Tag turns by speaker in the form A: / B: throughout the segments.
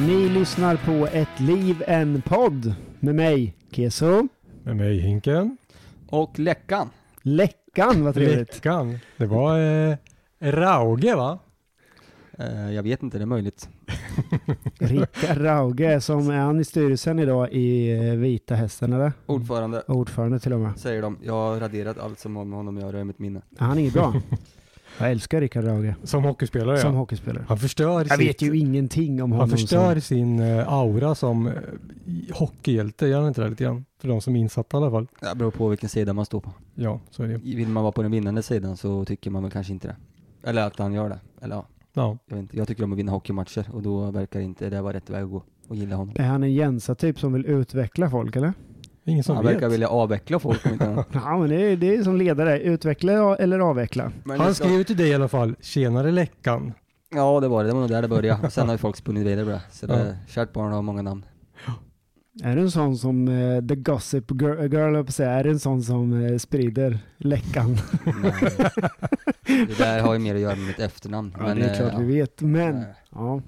A: Ni lyssnar på Ett liv, en podd med mig, Keso.
B: Med mig Hinken.
C: Och Läckan.
A: Läckan, vad trevligt.
B: Veckan. Det var eh, Rauge va?
C: Eh, jag vet inte, det är möjligt.
A: Rickard Rauge, som är han i styrelsen idag i eh, Vita Hästen, eller?
C: Ordförande,
A: Ordförande till och med.
C: säger de. Jag har raderat allt som har med honom att göra i mitt minne.
A: Han är bra. Jag älskar Rickard Rauge
B: Som hockeyspelare
A: som
B: ja.
A: hockeyspelare.
B: Han förstör,
A: Jag
B: sitt,
A: vet ju ingenting om honom.
B: han förstör
A: så-
B: sin eh, aura som eh, hockeyhjälte, gör han inte det lite grann? För de som är insatta i alla fall.
C: Det beror på vilken sida man står på.
B: Ja, så är det.
C: Vill man vara på den vinnande sidan så tycker man väl kanske inte det. Eller att han gör det. Eller ja,
B: Ja.
C: jag vet inte. Jag tycker om att vinna hockeymatcher och då verkar inte det vara rätt väg att gå. Och gilla honom.
A: Är han en Jensa-typ som vill utveckla folk, eller?
B: Ingen som
C: han
B: vet.
C: verkar vilja avveckla folk om inte annat.
A: Ja, men det är, det är som ledare. Utveckla eller avveckla.
C: Men det
B: Han
C: ska-
B: skrev till dig i alla fall, tjenare Läckan.
C: Ja, det var det. Det var nog där det började. Och Sen har ju folk spunnit vidare på det. Så det,
B: Ja.
C: kärt barn har många namn.
A: Är du en sån som eh, the gossip girl, girl höll jag på att säga. Är du en sån som eh, sprider läckan?
C: Nej. eh, det där har ju mer att göra med mitt efternamn.
A: Ja, det är
C: eh,
A: klart
C: ja.
A: vi vet, men
C: Nej.
A: ja.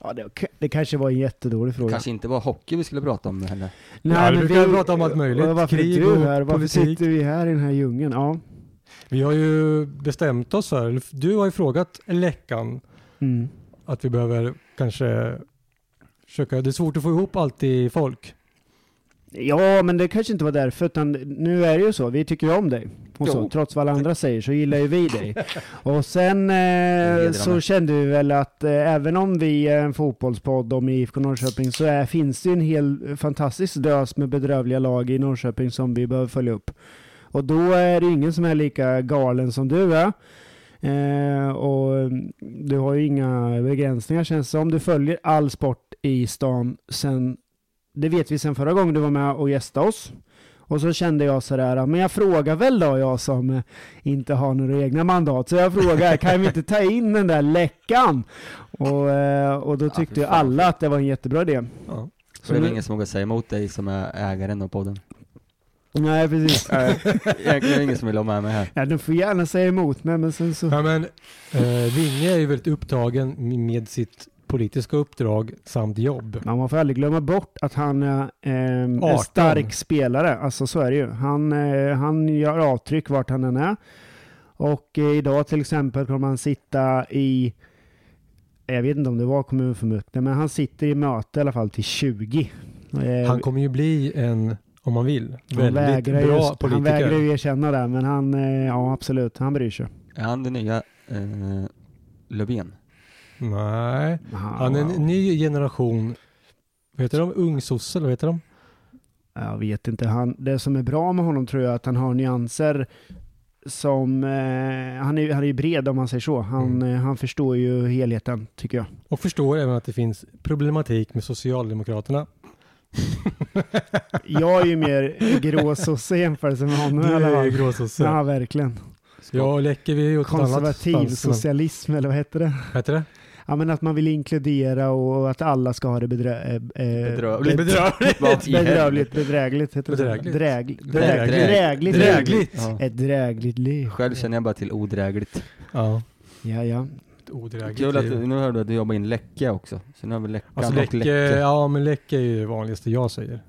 A: Ja, det, det kanske var en jättedålig fråga.
C: Kanske inte var hockey vi skulle prata om heller.
B: Ja, det brukar vi prata om allt möjligt.
A: Varför
B: Krig
A: är du
B: och
A: här? Varför
B: politik.
A: sitter vi här i den här djungeln? Ja.
B: Vi har ju bestämt oss här, eller du har ju frågat Läckan
A: Mm.
B: att vi behöver kanske försöka, det är svårt att få ihop allt i folk.
A: ja, men det kanske inte var därför, utan nu är det ju så. Vi tycker ju om dig. Och så,
C: Jo.
A: trots vad alla andra säger så gillar ju vi dig. Och sen eh,
C: hedrande.
A: så kände vi väl att eh, även om vi är en fotbollspodd om IFK Norrköping så är, finns det ju en hel fantastisk drös med bedrövliga lag i Norrköping som vi behöver följa upp. Och då är det ingen som är lika galen som du är. Eh, och mm, du har ju inga begränsningar känns det som. Du följer all sport i stan sen, det vet vi sen förra gången du var med och gästade oss. Och så kände jag sådär, men jag frågar väl då jag som eh, inte har några egna mandat. Så jag frågar, kan vi inte ta in den där läckan? Och, eh, och då
C: Ja,
A: tyckte
C: fy
A: ju
C: fan.
A: alla att det var en jättebra idé.
B: Ja.
C: Så det är väl ingen som vågar säga emot dig som är ägaren av podden.
A: Nej, precis.
C: Egentligen är det ingen som vill ha med mig här.
A: Ja, de får gärna säga emot mig, men sen så...
B: Ja, men, eh, Vinge är ju väldigt upptagen med sitt politiska uppdrag samt jobb.
A: Ja, man får aldrig glömma bort att han är eh, en
B: 18.
A: stark spelare. Alltså så är det ju. Han, eh, han gör avtryck vart han än är. Och eh, idag till exempel kommer han sitta i, jag vet inte om det var kommunfullmäktige, men han sitter i möte i alla fall till 20. Eh,
B: Han kommer ju bli en, om man vill,
A: han
B: väldigt
A: vägrar,
B: bra
A: just, han
B: politiker.
A: vägrar ju erkänna det, men han, eh, ja absolut, han bryr sig.
C: Är han den nya eh, Löfven?
B: Nej,
A: Ja,
B: han är en
A: ja.
B: ny generation. Vad heter de? Ungsossar, vad heter de?
A: Jag vet inte. Han, det som är bra med honom tror jag är att han har nyanser som... Eh, han, är, han är ju bred om man säger så. Han,
B: Mm.
A: eh, han förstår ju helheten tycker jag.
B: Och förstår även att det finns problematik med Socialdemokraterna.
A: Jag är ju mer grå sosse i jämförelse med honom
B: Du
A: i alla
B: är ju
A: fall.
B: gråsosse.
A: Ja, verkligen.
B: Jag och Läcke, vi är ju åt ett annat
A: Konservativ
B: stans, men-
A: socialism eller vad heter det?
B: Vad heter det?
A: Ja, men att man vill inkludera och att alla ska ha det bedrö- eh, eh,
C: Bedrövligt.
A: bed-
B: Bedrövligt.
C: Vad i
A: bedrövligt, bedrägligt heter det. så?
B: Bedrägligt.
A: Drägl-
C: Drägligt.
A: drägligt. Drägligt.
B: Drägligt.
C: helvete?
A: Ett drägligt liv.
C: Ja. Själv känner jag bara till odrägligt.
B: Ja,
A: Ja, ja.
B: ett odrägligt
C: Kul att
B: liv.
C: du, nu hörde du att du jobbar in läcka också. Så nu har vi läckan
B: Alltså
C: och
B: läcke,
C: läcka.
B: ja men läcke är ju det vanligaste jag säger.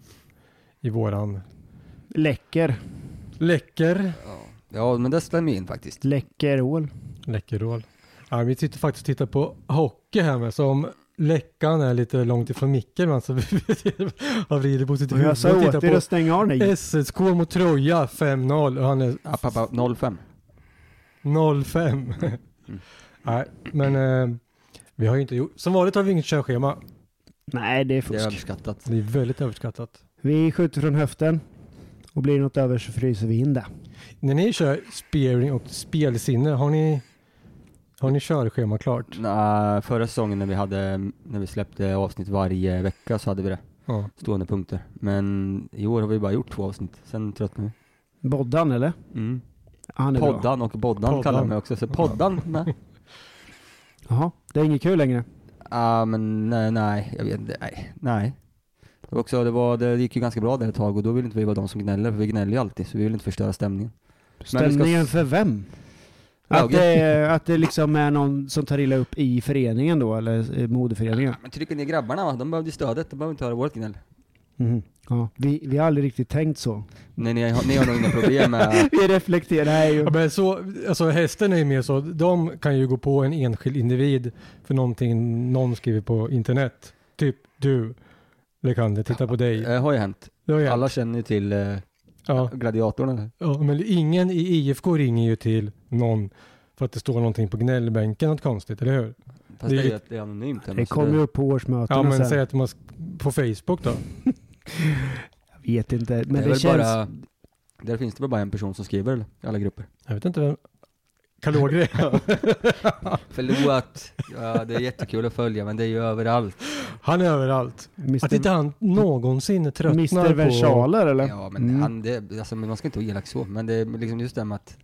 B: I våran
A: Läcker.
B: läcker,
C: Ja. ja, men det stämmer ju in faktiskt.
A: Läckerol.
B: läckerrål. Ja, vi sitter faktiskt och tittar på hockey här med som läckan är lite långt ifrån micken. Men alltså, så han vrider på sitt
A: Och jag
B: huvud och
A: sa åt er
B: tittar
A: att stänga av
B: på
A: nej.
B: SSK mot Troja 5-0 och han är
C: App, app, app, 05.
B: 05.
A: Mm.
B: Nej, men eh, vi har ju inte gjort... Som vanligt har vi inget körschema.
A: Nej, det är
C: Det är
A: fusk.
C: överskattat.
B: Det är väldigt överskattat.
A: Vi skjuter från höften. Och blir det något över så fryser vi in det.
B: När ni kör spearing och spelsinne, har ni, har ni körschema klart?
C: Nej, förra säsongen när vi, hade, när vi släppte avsnitt varje vecka så hade vi det.
B: Ja.
C: Stående punkter. Men i år har vi bara gjort två avsnitt. Sen tröttnade vi.
A: Boddan eller?
C: Mm.
A: Han är bra.
C: Poddan och Boddan
B: Poddan.
C: kallar de mig också. Så poddan, nej.
A: Jaha, det är inget kul längre.
C: Ja Ah, men nej, nej, jag vet inte, nej, nej. Det, var också, det, var, det gick ju ganska bra där ett tag och då vill inte vi vara de som gnäller, för vi gnäller ju alltid, så vi vill inte förstöra stämningen. Men vi ska-
A: Stämningen för vem? Att
C: Laget.
A: det, att det liksom är någon som tar illa upp i föreningen då, eller eh, modeföreningen?
C: Men trycker ner grabbarna va, de behövde ju stödet, de behöver inte höra vårt gnäll.
A: Mhm. Ja, vi, vi har aldrig riktigt tänkt så.
C: Nej, ni, har- ni har nog inga problem med...
A: Vi reflekterar ju.
B: Ja, men så, alltså hästen är ju mer så, de kan ju gå på en enskild individ för någonting någon skriver på internet. Typ du, Lekander, titta på dig.
C: Eh, Det har ju hänt.
B: Det har ju hänt.
C: Alla känner ju till eh,
B: Ja,
C: gladiatorerna.
B: ja, men ingen i IFK ringer ju till någon för att det står någonting på gnällbänken, något konstigt, eller hur?
C: Fast
B: Det
C: det
B: är
C: är ju
B: ju-
C: att det är anonymt.
A: Det kommer ju upp på årsmötena
B: Ja, men
A: sen.
B: säg att man sk- på Facebook då.
A: Jag vet inte, men
C: Men
A: det,
C: det, är väl
A: känns...
C: bara, där finns det väl bara en person som skriver eller? i alla grupper.
B: Jag vet inte vem. Kalle Ågren.
C: Förlorat, ja, det är jättekul att följa men det är ju överallt.
B: Han är överallt. Att
A: Mr.
B: inte han någonsin tröttnar
A: Mr.
B: på...
A: Versaler eller?
C: Ja men
A: Mm.
C: han, det, alltså, men man ska inte vara elak så, men det är liksom just det med att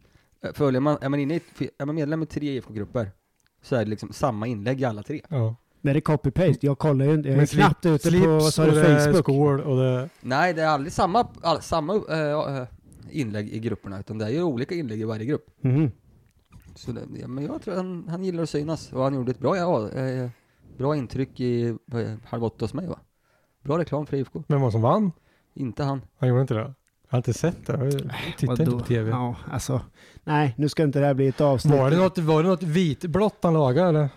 C: eh, följer man, är man, inne i, ett- är man medlem i tre IFK-grupper så är det liksom samma inlägg i alla tre.
B: Ja.
A: Men det är copy-paste, jag kollar ju inte. Jag är
B: Men slip-
A: knappt ute på, vad sa du, Facebook?
B: skål och det...
C: Nej, det är aldrig samma, all, samma eh, eh, inlägg i grupperna utan det är ju olika inlägg i varje grupp.
A: Mhm.
C: Så det, ja, men jag tror han, han gillar att synas och han gjorde ett bra, ja, eh, bra intryck i eh, Halv åtta hos mig va? Bra reklam för IFK.
B: Vem var som vann?
C: Inte han.
B: Han gjorde inte det? Jag har inte sett det. Jag tittar inte
A: Vadå?
B: på tv.
A: Ja, alltså. Nej, nu ska inte det här bli ett avsnitt.
B: Var det något, var det något vitblått han lagade eller?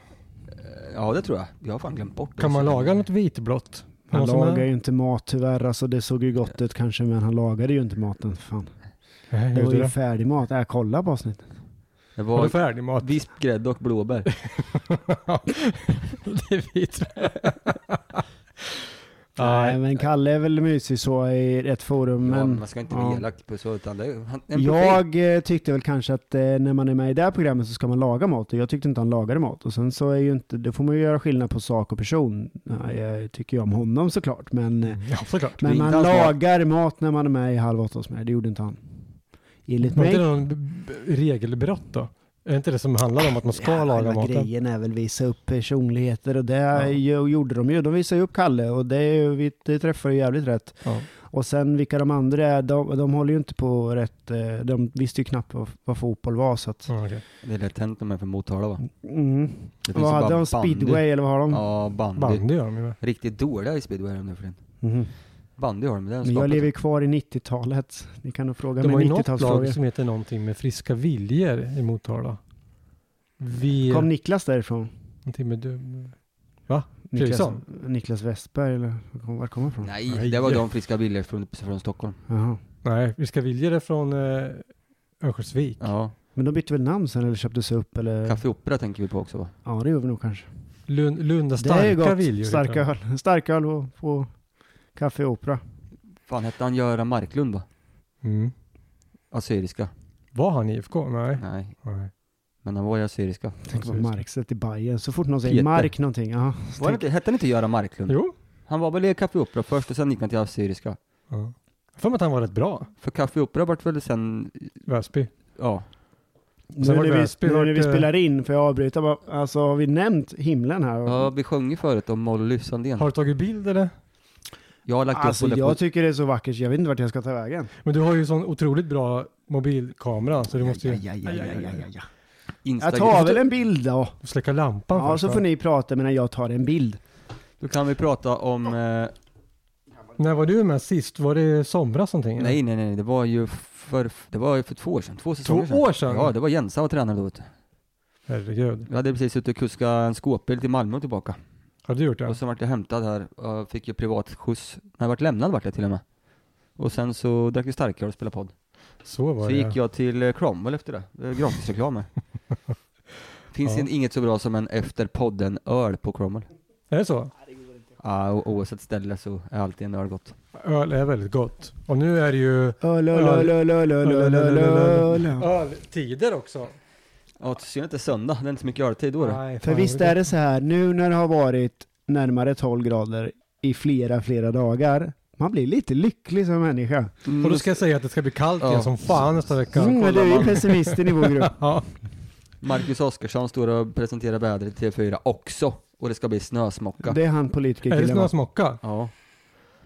C: Eh, Ja det tror jag. Jag har fan glömt bort det.
B: Kan man
C: Så-
B: laga något vitblått?
A: Han
B: Vad som är-
A: lagar ju inte mat tyvärr, alltså det såg ju gott ut kanske, men han lagade ju inte maten. Fan.
B: Nej,
A: Det var
B: gjorde
A: ju
B: det.
A: färdig mat. Äh, kolla på avsnittet.
C: Det
B: Var det
C: var
B: färdigmat?
C: visp grädde och blåbär.
B: det är vitblått.
A: Nej,
B: Nej.
A: men Kalle är väl mysig så i ett forum,
C: ja,
A: men
C: man ska inte vara
A: ja.
C: elak på så utan det är han, en profil.
A: jag eh, tyckte väl kanske att eh, när man är med i det här programmet så ska man laga mat och jag tyckte inte han lagade mat. Och sen så är ju inte, då får man ju göra skillnad på sak och person. Ja, jag tycker ju om honom såklart, men, eh,
B: Ja, såklart.
A: men
C: inte
A: man
C: hans mat.
A: lagar mat när man är med i Halv åtta hos mig. Det gjorde inte han. Enligt
B: Var inte
A: mig.
B: det någon b- b- regelbrott då? Är inte det som handlar om att man ska
A: Ja,
B: laga
A: själva
B: maten?
A: grejen är väl visa upp personligheter och det
B: Ja.
A: ju- gjorde de ju. De visade ju upp Kalle och det, är ju- vi- det träffar ju jävligt rätt.
B: Ja.
A: Och sen vilka de andra är, de, de håller ju inte på rätt. eh, De visste ju knappt vad, vad fotboll var så att...
B: Ja, okej.
C: Det är lätt hänt om jag är från Motala va?
A: Mm.
C: Det finns
A: Vad
C: ju
A: hade
C: bara
A: de? Speedway eller vad har de?
C: Ja, bandy.
B: Bandy gör de ju med.
C: Riktigt dåliga i speedway är de nu för tiden.
A: Mhm.
C: Bandy har de, det har de
A: Men jag
C: skapat.
A: lever ju kvar i 90-talet. Ni kan nog fråga
B: De har
A: mig
B: ju något lag
A: 90-talsfrågor.
B: som heter någonting med friska viljor i Motala. Vi...
A: Kom Niklas därifrån?
B: någonting med dum...
A: Niklas,
B: Fredriksson?
A: Niklas Westberg eller var kommer han ifrån?
C: Nej, det var de friska bilder från, från Stockholm.
A: Jaha.
B: Nej, friska viljor är från eh, Örnsköldsvik.
C: Ja,
A: Men de bytte väl namn sen eller köptes upp eller?
C: Café Opera tänker vi på också va?
A: Ja det gör vi nog kanske.
B: Lund, Lunda
A: Det är ju
B: starka viljor.
A: gott.
B: heter
A: Starka öl. Starka öl och, och kaffe och opera.
C: Fan hette han Göran Marklund va?
B: den. Mm.
C: Assyriska?
B: Var han IFK? Nej.
C: Nej,
B: Nej.
C: men han var ju assyriska.
A: Tänk på
B: Precis.
A: Markstedt i Bayern. Så fort någon säger
C: Peter.
A: Mark någonting. Ja. så
C: Var det
A: tänk-
C: inte, hette han inte Göran Marklund?
B: Jo.
C: Han var väl i Café Opera först och sen gick han till assyriska.
B: Ja. Jag för mig att han var rätt bra,
C: För Café Opera vart väl sen,
B: Väsby.
C: ja.
A: Nu
B: Sen var
A: när vi,
B: Väsby,
A: nu när
B: vart,
A: vi
B: eh,
A: spelar in, för jag avbryter bara. Alltså har vi nämnt himlen här?
C: Ja, vi sjöng ju förut om Molly Sandén.
B: Mm. Har du tagit bild eller?
C: Jag har lagt
A: Alltså
C: upp på det på
A: jag tycker det är så vackert, jag vet inte vart jag ska ta vägen.
B: Men du har ju sån otroligt bra mobilkamera så du måste ju
A: Jag
C: Instagram.
A: tar väl en bild då.
B: släcka lampan
A: Ja,
B: först,
A: så
B: va?
A: får ni prata medan jag tar en bild.
C: Då kan vi prata om, eh, nej,
B: När var du med sist? Var det i somras någonting? eller?
C: nej nej, det var ju för, det var ju för två år sedan, två säsonger
B: Två år sedan?
C: Ja, det var Jensa var tränare då vet du.
B: Herregud.
C: Vi hade precis suttit och kuskat en skåpbil till Malmö och tillbaka.
B: Har du gjort det?
C: Och sen vart jag hämtad här, och fick ju privatskjuts. Nej, jag vart lämnad vart jag till och med. Och sen så drack vi starkare och spelade podd.
B: Så var
C: Så
B: det.
C: gick jag till eh, Cromwell efter det. Eh, Gratisreklamer. Finns
B: Ja.
C: in- inget så bra som en efter podden öl på Cromwell.
B: Är det så?
C: Ja, och oavsett ställe så är alltid en öl gott.
B: Öl är väldigt gott. Och nu är det ju
A: Öl, öl, öl, öl, öl, öl, öl, öl, öl.
B: öltider också.
C: Ja, till synd att det är söndag. Det är inte så mycket öltid då. då.
B: Nej,
A: För
B: fan,
A: visst är det så här, nu när det har varit närmare 12 grader i flera, flera dagar, man blir lite lycklig som människa.
C: Mm.
B: Och då ska jag säga att det ska bli kallt igen
C: Ja.
B: som fan nästa vecka.
A: Mm, men du är
C: kollar
A: ju
C: man.
A: pessimisten i vår grupp.
B: Ja.
C: Marcus Oskarsson står och presenterar vädret i TV4 också. Och det ska bli snösmocka.
A: Det är han
B: Är det
A: politikerkillen. va?
B: snösmocka?
C: Ja,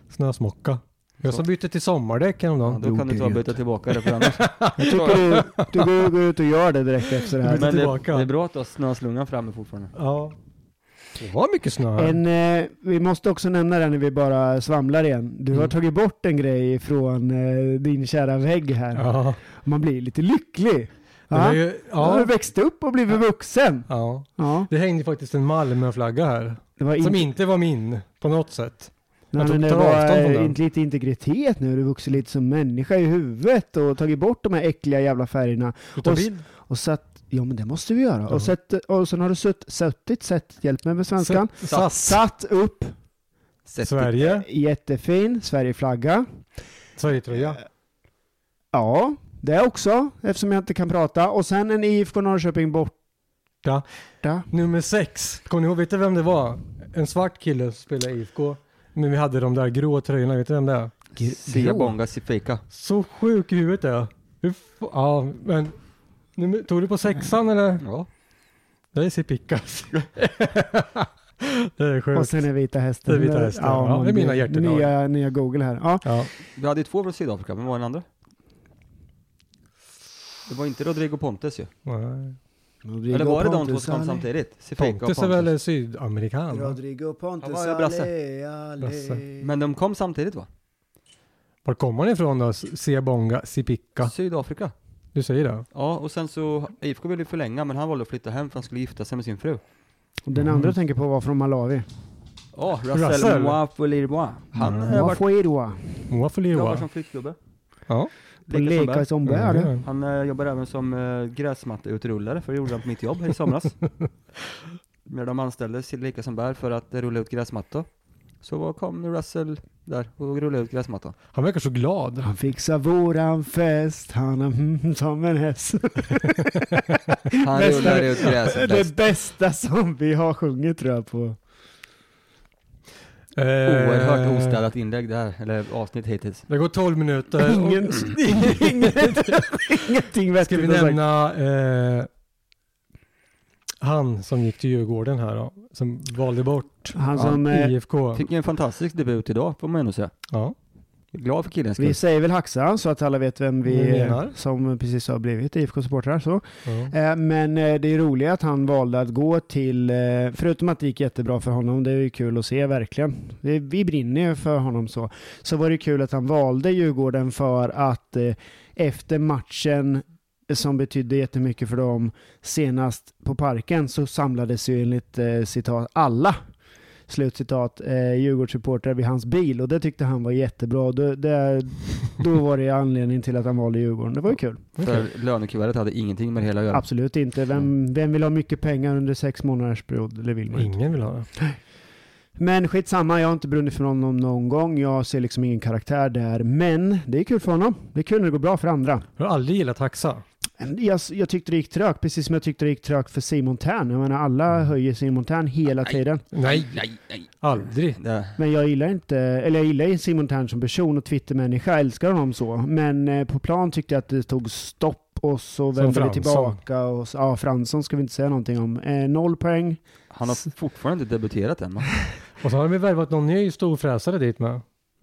B: Snösmocka. Jag
C: Så.
B: som bytte till sommardäck
C: ja
B: häromdagen.
C: då kan du ta och byta tillbaka det för annars.
A: Jag tycker du, du går, går ut och gör det direkt efter det här.
B: byter
C: Men det, det
B: tillbaka.
C: är bra att du har snöslungan framme fortfarande.
B: Ja. Det var mycket snö här.
A: En, eh, vi måste också nämna det när vi bara svamlar igen. Du har
C: Mm.
A: tagit bort en grej från eh, din kära vägg här.
B: Ja.
A: Man blir lite lycklig.
B: Det var
A: Ja.
B: ju,
A: Nu har du
B: ja.
A: växt upp och blivit vuxen.
B: ja.
A: Ja,
B: Det hängde faktiskt en Malmöflagga här.
A: det var
B: Som
A: inte-
B: inte var min på något sätt.
A: Nej,
B: Jag
A: men
B: tog-
A: det
B: tar avstånd från
A: var eh,
B: den.
A: inte lite integritet nu. Du har vuxit lite som människa i huvudet och tagit bort de här äckliga jävla färgerna.
B: Utan
A: Och s-
B: bild.
A: Och satt, ja men det måste vi göra.
B: Ja.
A: Och, sett, och sen har du sutt, suttit, sett, hjälp mig med svenskan.
B: S- SAS.
A: Satt upp,
C: Sätt
B: Sverige.
A: jättefin, Sverigeflagga.
B: Sverigetröja.
A: Ja, det också, eftersom jag inte kan prata. Och sen en IFK Norrköping borta.
B: Nummer sex. Kommer ni ihåg, vet du vem det var? En svart kille som spelade i IFK. Men vi hade de där grå tröjorna, vet du vem det är?
C: ditt Sia Bonga Sifika.
B: Så sjuk i huvudet är jag. Hur f- Ja, men. Nummer, tog du på sexan eller?
C: Ja.
B: Det är Sipickas. det är
A: Och
B: sjukt.
A: sen är Vita Hästen.
B: Det är Vita Hästen, ja.
A: man
B: Det är mina
A: blir-
B: hjärtedagar.
A: Nya, nya Google här. Ja.
B: Ja.
C: Vi hade ju två från Sydafrika, men vad var den andra? Det var inte Rodrigo Pontes ju.
B: nej.
C: Eller var det de två som kom samtidigt? Sifika och
B: Pontus är väl
C: Pontes.
B: sydamerikan? va?
A: Rodrigo Pontus,
C: Ja, vad är brasse?
B: Brasse.
C: Men de kom samtidigt va?
B: Var kommer han ifrån då? Sebonga, Sipicka?
C: Sydafrika.
B: Du säger det?
C: Ja, och sen så, IFK ville ju förlänga, men han valde att flytta hem för han skulle gifta sig med sin fru.
A: Den andra jag tänker på var från Malawi.
C: Ja,
B: Russell.
C: Russell Mwafulirwa. Han
B: Mm.
C: mm.
A: Vad
C: varit
A: får jag då?
C: jobbar
B: Moafoliwa?
C: som flyttgubbe.
B: Ja. Mm.
A: På
C: Leka som
A: Leka
C: bär.
A: som bär. du.
C: Han eh, jobbar även som eh, gräsmatteutrullare, för det gjorde han på mitt jobb här i somras. När de anställdes i Lika som bär för att rulla ut gräsmattor. Så var- kom Russell där och rullade ut gräsmattan.
B: Han verkar så glad.
A: Han fixar våran fest, han är mm, som en häst.
C: Han
A: Bästa-
C: rullar ut gräset
A: Det
C: bäst.
A: bästa som vi har sjungit tror jag på.
B: Eh.
C: Oerhört ostädat inlägg det här, eller avsnitt hittills.
B: Det går 12 minuter.
A: Ingen, ingen, Typ ingenting
B: Ska vi
A: vettigt att säga.
B: nämna eh, han som gick till Djurgården här då? Som valde bort
A: Han som, eh,
B: IFK?
C: Fick ju en fantastisk debut idag, får man ändå säga.
B: Ja.
C: Jag är Glad för killens
A: vi
C: skull.
A: säger väl Haxa så att alla vet vem vi
B: Vi menar.
A: som precis har blivit IFK-supportrar. Så.
B: ja.
A: Eh, Men eh, det är roligt att han valde att gå till, eh, förutom att det gick jättebra för honom, det är ju kul att se verkligen. Vi, vi brinner ju för honom så. Så var det kul att han valde Djurgården för att eh, efter matchen eh, som betydde jättemycket för dem senast på parken så samlades ju enligt eh, citat alla slutcitat eh, Djurgårdssupportrar vid hans bil och det tyckte han var jättebra. Då, det, då var det anledningen till att han valde Djurgården. Det var ju kul.
C: För lönekuvertet hade ingenting med det hela att göra.
A: Absolut inte.
B: Mm.
A: Vem, vem vill ha mycket pengar under sex månaders period? Det vill man inte.
B: Ingen vill ha det.
A: Men skitsamma, jag har inte brunnit för honom någon gång. Jag ser liksom ingen karaktär där. Men det är kul för honom. Det är kul när det går bra för andra.
B: Jag har aldrig gillat Haxa.
A: Jag, jag tyckte det gick trögt, precis som jag tyckte det gick trögt för Simon Tern. Jag menar,
B: Mm.
A: alla höjer Simon Tern hela
C: Nej.
A: tiden.
B: Nej,
C: Nej, nej.
B: aldrig.
C: Det,
A: Men jag gillar inte, eller jag gillar ju Simon Tern som person och Twittermänniska. Jag älskar honom så. Men eh, på plan tyckte jag att det tog stopp och så
B: Som
A: vände vi
B: Fransson.
A: tillbaka. Och, s- ja, Fransson ska vi inte säga någonting om. Eh, noll poäng.
C: han har fortfarande inte debuterat än va?
B: Och så har de ju värvat någon ny storfräsare dit med.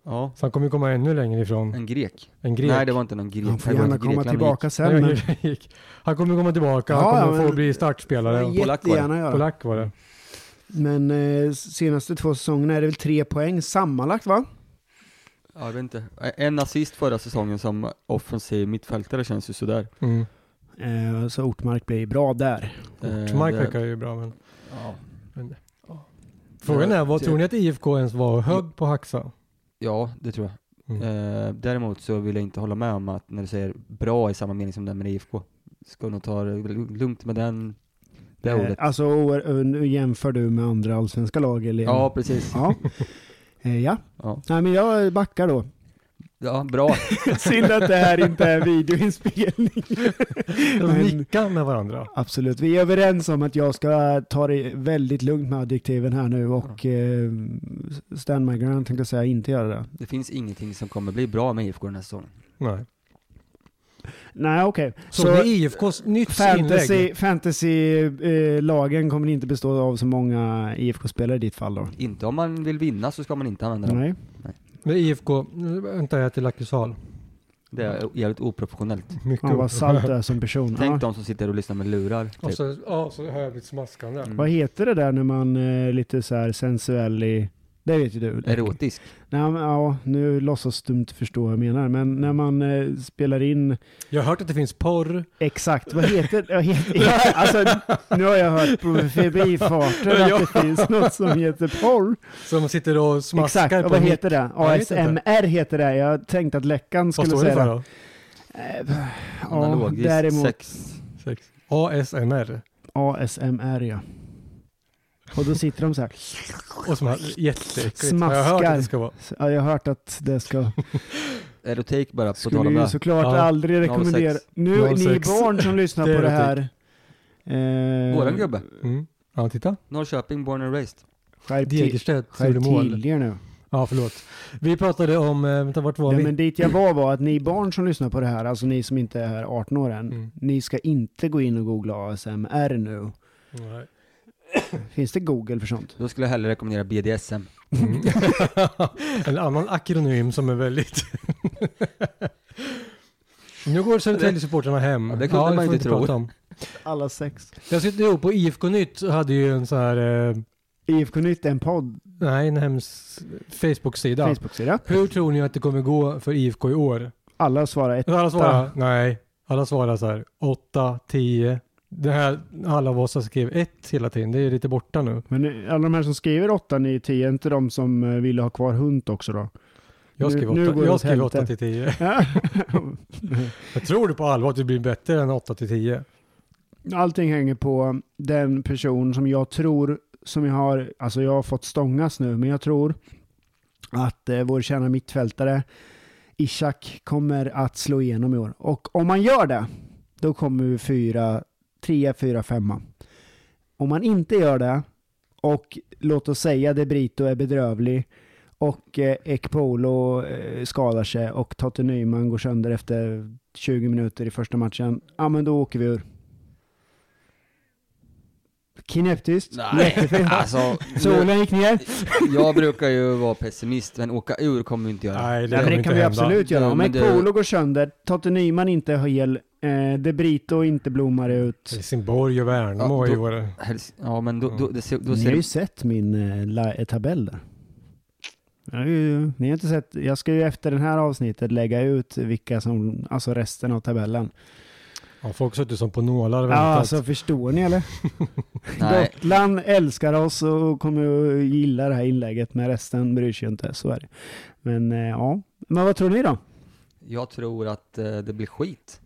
C: Ja.
B: Så han kommer ju komma ännu längre ifrån.
C: En grek.
B: En grek.
C: Nej, det var inte någon grek.
A: Han får
C: Det var
A: gärna
C: inte grek,
A: komma
C: han
A: tillbaka
B: Nej,
A: sen. Men...
B: grek. Han kommer komma tillbaka.
A: Ja,
B: han kommer
A: ja, men-
B: få bli startspelare.
C: Ja, Polack var det.
A: Jättegärna göra.
B: Polack var det.
A: Men eh, senaste två säsongerna är det väl tre poäng sammanlagt va?
C: gick. Ja, jag vet inte. En assist förra säsongen som offensiv mittfältare känns ju sådär.
B: Mm.
A: Eh, så Ortmark blir bra där.
C: Eh,
B: Schmeichel
C: det-
B: verkar ju bra men.
C: Ja.
B: Men- Frågan är, vad
C: Det-
B: tror ni att IFK ens var hög på Haxa?
C: Ja, det tror jag.
B: Mm.
C: Eh, däremot så vill jag inte hålla med om att när du säger bra i samma mening som den med IFK. Ska nog ta det lugnt med den, det
A: Eh,
C: ordet.
A: Alltså o- nu jämför du med andra allsvenska lag eller?
C: Ja, precis.
A: Ja. Eh, ja.
C: Ja,
A: Nej men jag backar då.
C: ja bra.
A: Synd att det här inte är videoinspelning.
B: De
A: Men-
B: nickar med varandra.
A: Absolut, vi är överens om att jag ska ta det väldigt lugnt med adjektiven här nu och eh, stand my ground tänkte jag säga inte göra det.
C: Det finns ingenting som kommer bli bra med IFK den här säsongen.
B: Nej.
A: Nej okej,
B: Så,
A: så
B: med IFKs nytt inlägg.
A: fantasy- fantasy-lagen kommer inte bestå av så många IFK-spelare i ditt fall då?
C: Inte om man vill vinna så ska man inte använda dem.
A: Nej.
B: Med IFK, nu väntar jag till Lakesal.
C: Det är jävligt oprofessionellt.
B: Mycket
A: Fan vad
B: upp.
A: salt du är som person.
C: Tänk
A: Mm. ja.
C: de som sitter och lyssnar med lurar.
B: Och
C: Typ.
B: så, ja, så hör jag mitt smaskande.
C: Mm.
A: Vad heter det där när man är lite så här sensuell i... Det vet ju du.
C: Erotisk.
A: Nej, men, ja, nu låtsas du inte förstå vad jag menar, men när man eh, spelar in
B: Jag har hört att det finns porr.
A: Exakt, vad heter det? Alltså, nu har jag hört på förbifarten att det finns något som heter porr.
B: Som sitter och smaskar
A: Exakt, och
B: på
A: vad
B: mitt-
A: heter det?
B: Jag vet inte.
A: ASMR heter det. Jag tänkte att Läckan
B: Vad
A: skulle
B: står det
A: säga
B: för
A: det.
B: då?
A: Eh, Ja,
C: Analogiskt
A: däremot
C: sex.
B: Sex. ASMR.
A: ASMR ja. Och då sitter de så här.
B: Och som är jätteäckligt.
A: Smaskar.
B: Jag har hört att det ska vara.
A: Så, Ja, jag har hört att det ska...
C: Erotik bara, på tal
A: Skulle
C: om
A: ju
C: det.
A: såklart
B: Ja.
A: aldrig
C: Noll sex.
A: rekommendera. Nu,
B: Noll
A: ni
B: sex.
A: barn som lyssnar på det här. Eh,
C: Våran gubbe.
B: Mm. Ja, titta.
C: Norrköping, born and raised.
A: Skärp till,
B: Degerstedt gjorde
A: skärp
B: mål.
A: till er nu.
B: Ja, förlåt. Vi pratade om, eh, vänta vart var
A: Nej,
B: vi?
A: men dit jag var var att ni barn som lyssnar på det här, alltså ni som inte är 18 år än,
B: Mm.
A: ni ska inte gå in och googla ASMR nu.
B: Nej.
A: Finns det Google för sånt?
C: Då skulle jag hellre rekommendera BDSM.
B: Mm. en annan akronym som är väldigt... nu går Södertälje-supportrarna hem.
C: Ja, det kunde
B: det får
C: man ju
B: vi
C: inte
B: prata
C: tro.
B: om.
A: Alla sex.
B: Jag sitter ihop på IFK Nytt så hade ju en så här, eh,
A: IFK Nytt är en podd,
B: nej en hemsk Facebook-sida.
A: Facebook-sida.
B: Hur tror ni att det kommer gå för IFK i år?
A: Alla svarar ett.
B: Alla svarar, nej. Alla svarar så här, 8, 10. Det här, alla av oss som skrev 1 hela tiden, det är lite borta nu.
A: Men nu- alla de här som skriver 8, 9, 10, är inte de som eh, ville ha kvar hund också då?
B: Jag
A: Nu-
B: skrev
A: nu
B: 8,
A: går det
B: jag
A: åt
B: skrev
A: helvete.
B: 8 till 10.
A: Ja.
B: Jag tror du på allvar att det blir bättre än 8 till 10?
A: Allting hänger på den person som jag tror, som jag har, alltså jag har fått stångas nu, men jag tror att eh, vår kära mittfältare Ishak kommer att slå igenom i år. Och om man gör det, då kommer vi fyra, trea, fyra, femma. Om man inte gör det, och låt oss säga De Brito är bedrövlig, och eh, Ekpolo eh, skadar sig och Totte Nyman går sönder efter 20 minuter i första matchen, ja men då åker vi ur. Kineptiskt. Jättefint.
C: alltså. nu-
A: Solen gick ner.
C: Jag brukar ju vara pessimist, men åka ur kommer vi inte göra.
B: Nej,
A: Nej, men det
B: inte
A: kan vi
B: hända.
A: absolut göra.
C: Ja,
A: Om
C: men
A: en
C: det-
A: polo går sönder, Totte Nyman inte är hel, eh, De Brito inte blommar ut.
B: Helsingborg och Värnamo
C: Ja,
B: i
C: då-
B: år.
C: Helst, ja, men då, då, det ser, då
A: Ni har
C: ser
A: ju sett min eh, la- tabell där. Jag har ju, ni har inte sett, jag ska ju efter det här avsnittet lägga ut vilka som, alltså resten av tabellen.
B: Ja, folk har suttit som på nålar och
A: Ja,
B: väntat.
A: alltså förstår ni eller?
C: Nej,
A: Gotland älskar oss och kommer att gilla det här inlägget, men resten bryr sig ju inte, så är det. Men eh, ja, men vad tror ni då?
C: jag tror att eh, det blir skit.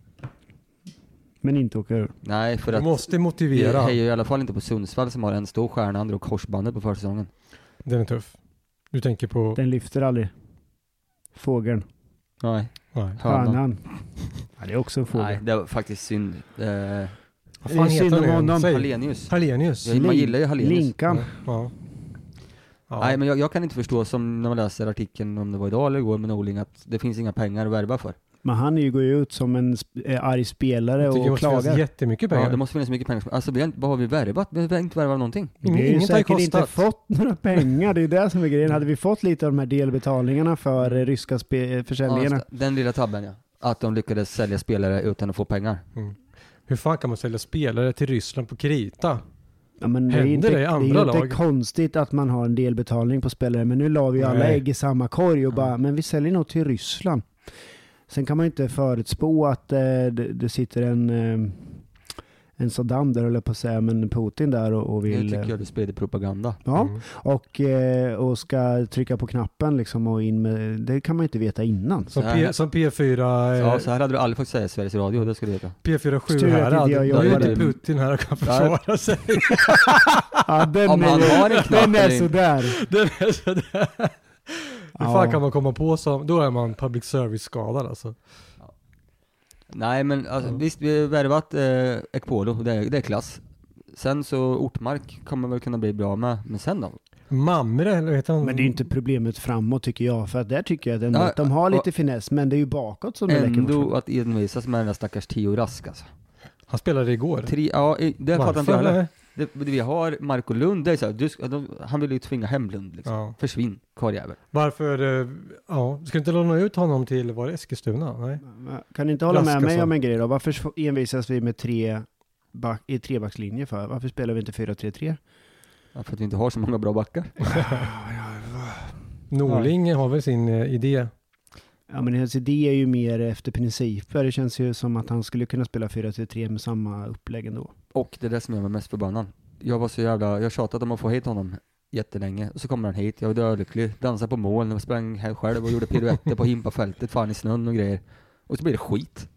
A: Men inte åka ur.
C: Nej, för
B: du
C: att
B: måste
C: vi
B: motivera.
C: hejar ju i alla fall inte på Sundsvall som har en stor stjärna, han drog korsbandet på försäsongen.
B: Den är tuff. Du tänker på...
A: Den lyfter aldrig. Fågeln.
C: Nej,
B: Nej.
C: hönan.
A: Hönan. Ja, det är också en
C: Nej,
A: fågel.
C: det var faktiskt synd. Eh,
A: Det
B: Vad
A: är
B: fan heter
A: synd om
B: han igen?
A: honom.
B: Säg.
C: Hallenius.
B: Hallenius.
C: Jag, man gillar ju Hallenius.
A: Linkan.
B: Ja. Ja.
C: Nej, men jag, jag kan inte förstå som när man läser artikeln, om det var idag eller igår med Norling, att det finns inga pengar att värva för.
A: Men han är ju- går ju ut som en sp- eh, arg spelare
B: jag tycker det
A: och
B: måste finnas
A: klagar.
B: jättemycket pengar.
C: Ja, det måste finnas mycket pengar. som- Alltså, vi har, inte- vad har vi värvat? Vi har inte värvat någonting.
A: Vi har ju
B: Inget har ju
A: säkert inte
B: kostat.
A: fått några pengar, det är det som är grejen. Hade vi fått lite av de här delbetalningarna för eh, ryska spe- eh,
C: Ja,
A: försäljningarna.
C: just det. den lilla tabben ja. Att de lyckades sälja spelare utan att få pengar.
B: Hur fan kan man sälja spelare till Ryssland på krita?
A: Ja, men det är
B: Händer
A: inte,
B: det i
A: det är
B: andra
A: ju inte
B: lag?
A: konstigt att man har en delbetalning på spelare, men nu la vi ju alla
B: Nej.
A: ägg i samma korg och
C: Ja.
A: bara, men vi säljer nog till Ryssland. Sen kan man ju inte förutspå att eh, det, det sitter en, eh, en Saddam där höll jag på att säga, men Putin där och, och
C: Nu
A: vill... eh,
C: tycker jag du sprider propaganda.
A: Ja,
B: Mm.
A: och, eh, och ska trycka på knappen liksom och in med... Det kan man ju inte veta innan.
B: Som,
C: Så här-
B: P, som P4, eh,
C: Ja, så här hade du aldrig fått säga i Sveriges Radio, det ska du veta.
B: P47
A: Tur att inte
B: här.
A: jag
B: Det är ju
C: jobbade.
B: inte Putin här och kan
C: Nej.
B: försvara sig.
A: Ja, den
C: Om
A: är,
C: han har en knapp
A: den är
C: eller inte.
A: sådär.
B: Den är sådär. Hur
A: Ja.
B: fan kan man komma på så? Då är man public service-skadad alltså.
C: Nej men alltså,
B: Ja.
C: visst, vi har värvat eh, Ekpolo, det, är- det är klass. Sen så Ortmark kommer väl kunna bli bra med, men sen då?
B: Mamre, eller heter han?
A: Men det är ju inte problemet framåt tycker jag, för att där tycker jag att ändå
C: Ja,
A: att de har
C: och-
A: lite finess, men det är ju bakåt som det läcker
C: Ändå
A: fortfarande.
C: att envisas med den där stackars Tio Rask alltså.
B: Han spelade igår.
C: Tre, ja, i- det fattar inte jag
B: Varför?
C: heller. Det- Vi har Marco Lund, det är så här, du, ska- de- han vill ju tvinga hem Lund liksom.
B: Ja.
C: Försvinn, karljävel.
B: Varför, eh, ja, ska du inte låna ut honom till, var det Eskilstuna? Nej.
A: Kan ni inte hålla med
B: Raskasson.
A: mig om en grej då? Varför envisas vi med tre back, i trebackslinje för? Varför spelar vi inte 4-3-3?
C: Ja, för att vi inte har så många bra backar.
B: Norling har väl sin eh, idé.
A: Ja men hans idé är ju mer efter principer. Det känns ju som att han skulle kunna spela 4-3-3 med samma upplägg ändå.
C: Och det är det som gör mig mest förbannad. Jag var så jävla, jag tjatade om att få hit honom jättelänge. Och så kommer han hit, jag var dölycklig, dansade på moln, och sprang här själv och gjorde piruetter på himpafältet, fan i snön och grejer. Och så blir det skit.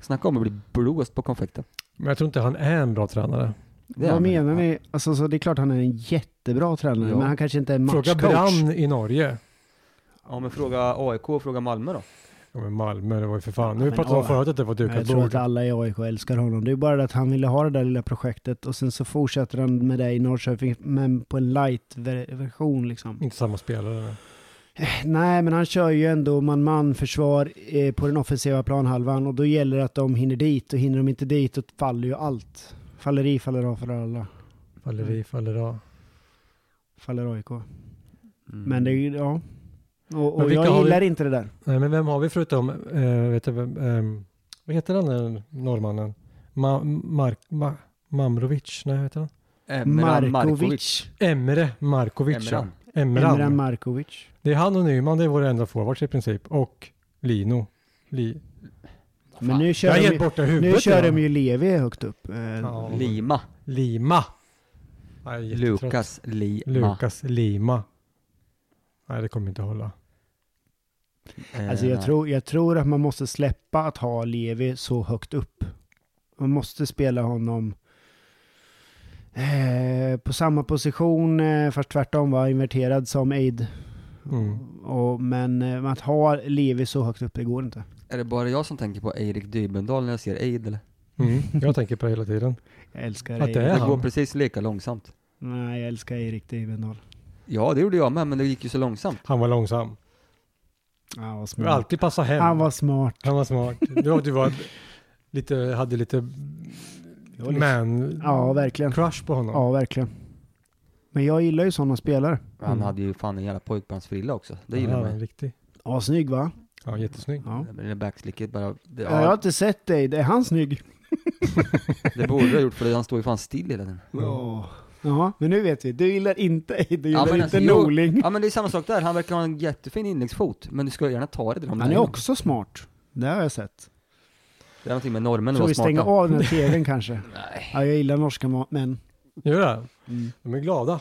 C: Snacka om att bli blåst på konfekten.
B: Men jag tror inte han är en bra tränare.
C: Det är
A: Vad
C: han.
A: menar ni? Alltså så det är klart han är en jättebra tränare,
C: Ja.
A: men han kanske inte är
B: Fråga
A: matchcoach.
B: Brann i Norge.
C: Ja men fråga AIK och fråga Malmö då.
B: Ja, men Malmö, det var ju för fan. Nu
A: men
B: pratade vi om
A: ja.
B: förut att det var
A: Jag
B: dukat
A: tror att
B: bord.
A: alla i AIK älskar honom. Det är bara det att han ville ha det där lilla projektet och sen så fortsätter han med det i Norrköping, men på en light-version liksom.
B: Inte samma spelare.
A: Nej, men han kör ju ändå man-man-försvar eh, på den offensiva planhalvan och då gäller det att de hinner dit och hinner de inte dit då faller ju allt. Faller i, faller av för alla.
B: Faller
A: Mm.
B: i, faller av.
A: Faller AIK. Men det är ju, ja. Och,
B: Men
A: och
B: vilka
A: jag
B: har vi-
A: gillar inte det där.
B: Nej, men vem har vi förutom, eh, vet du, vem, ehm, vad heter den där norrmannen? Ma- Mark, Ma- Mamrovic? Nej, vad heter han?
C: Emran Markovic.
A: Markovic.
B: Emre Markovic.
C: Emran.
B: Emran. Emran.
A: Emre Markovic.
B: Det är han och Nyman, det är våra enda forwards i princip. Och Lino. Li-
A: Men nu
B: jag
A: kör,
B: har
A: de
B: gett
A: ju,
B: bort det i huvudet.
A: nu kör
B: redan.
A: de ju Levi högt upp. Eh,
B: Ja.
C: Lima.
B: Lima. Jag är jättetrött.
C: Lukas Lima.
B: Lukas Lima. Nej, det kommer inte hålla.
C: Eh,
A: Alltså jag,
C: nej.
A: tror, jag tror att man måste släppa att ha Levi så högt upp. Man måste spela honom eh, på samma position, eh, fast tvärtom var inverterad som Aid.
B: Mm.
A: Och, men eh, att ha Levi så högt upp, det går inte.
C: Är det bara jag som tänker på Erik Dybendal när jag ser Eid eller?
B: Mm. Jag tänker på det hela tiden.
A: Jag älskar
B: Att
A: Erik.
B: det är
C: Det går
B: han.
C: precis lika långsamt.
A: Nej, jag älskar Erik Divendal.
C: Ja, det gjorde jag med, men det gick ju så långsamt.
B: Han var långsam.
A: Han var
C: Mm.
B: Du
A: smart.
B: alltid passa hem.
A: Han var smart.
B: Han var smart. Du, du var lite, hade lite
A: Det var liksom-
B: man
A: Ja, verkligen.
B: crush på honom.
A: Ja, verkligen. Men jag gillar ju sådana spelare.
C: Han
B: Mm.
C: hade ju fan en jävla pojkbandsfrilla också. Det
B: Ja,
C: gillar
B: han
C: man
B: är
C: ju.
B: riktig.
A: Ja, snygg va?
B: Ja, jättesnygg.
A: Ja.
C: Men det backslicket bara, det,
A: Jag har
C: ja,
A: inte sett dig. Är han snygg?
C: det borde du ha gjort för han står ju fan still hela tiden.
B: Ja.
A: Ja. Jaha, men nu vet vi. Du gillar inte Eid, du
C: Ja,
A: gillar
C: men
A: inte
C: alltså, jo.
A: Norling.
C: Ja men det är samma sak där, han verkar ha en jättefin inläggsfot, men du ska gärna ta det där om
A: Han
C: det
A: är också smart. Det har jag sett.
C: Det är någonting med norrmän att
A: Så
C: vara
A: vi stänger
C: smarta.
A: av den här tvn kanske.
C: Nej.
A: Ja, jag gillar norska ma- män.
B: Gör det?
A: Mm.
B: De är glada.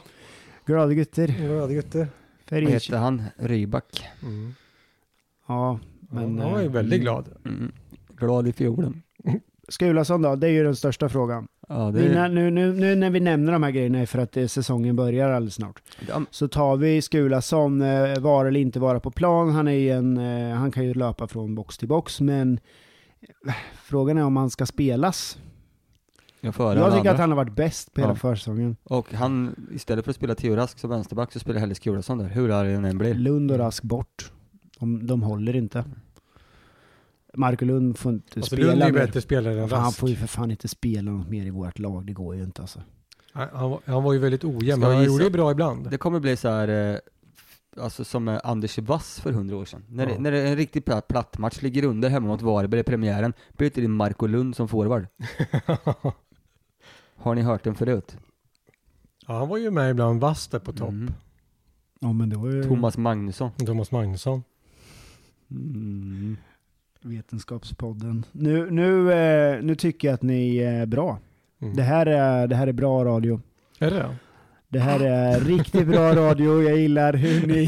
A: Glada gutter.
B: Glada gutter.
C: Vad
A: Ferici.
C: hette han? Ryback.
B: Mm.
A: Ja, men...
B: Men, han var ju
A: eh,
B: väldigt glad.
C: Mm. Glad i fiolen.
A: Skulason då, det är ju den största frågan.
C: Ja,
A: Vi,
C: det,
A: när, nu, nu, nu när vi nämner de här grejerna är för att eh, säsongen börjar alldeles snart.
C: ja,
A: Så tar vi Skulason, eh, vara eller inte vara på plan. Han, är ju en, eh, han kan ju löpa från box till box, men eh, frågan är om han ska spelas.
C: jag före
A: Jag
C: alla
A: tycker
C: andra.
A: att han har varit bäst på hela
C: Ja.
A: försäsongen.
C: Och han, istället för att spela Theo Rask som vänsterback så spelar Helle Skulason där, hur arg han än blir.
A: Lund och Rask bort. De, de håller inte. Marco Lund får inte
B: Alltså,
A: spela
B: Lund är ju
A: mer.
B: bättre spelare än
A: Fan, Han
B: Rask.
A: får ju för fan inte spela något mer i vårt lag. Det går ju inte alltså.
B: Han, han, var- han var ju väldigt ojämn,
C: Ska
B: men
C: jag
B: han
C: gissa?
B: gjorde ju bra ibland.
C: Det kommer bli så här, eh, alltså som eh, Anders Wass för hundra år sedan. När, det,
B: Ja.
C: när det är en riktig pla- platt match, ligger under hemma mot Varberg i premiären, byter in Marco Lund som forward. Har ni hört den förut?
B: ja, han var ju med ibland, vass där på topp.
C: Mm.
A: Ja men det var ju...
C: Thomas Magnusson.
B: Thomas Magnusson.
C: Mm.
A: Vetenskapspodden. Nu, nu, eh, nu tycker jag att ni är bra.
B: Mm.
A: Det här är, det här är bra radio.
B: Är det det?
A: Det här är riktigt bra radio. Jag gillar hur ni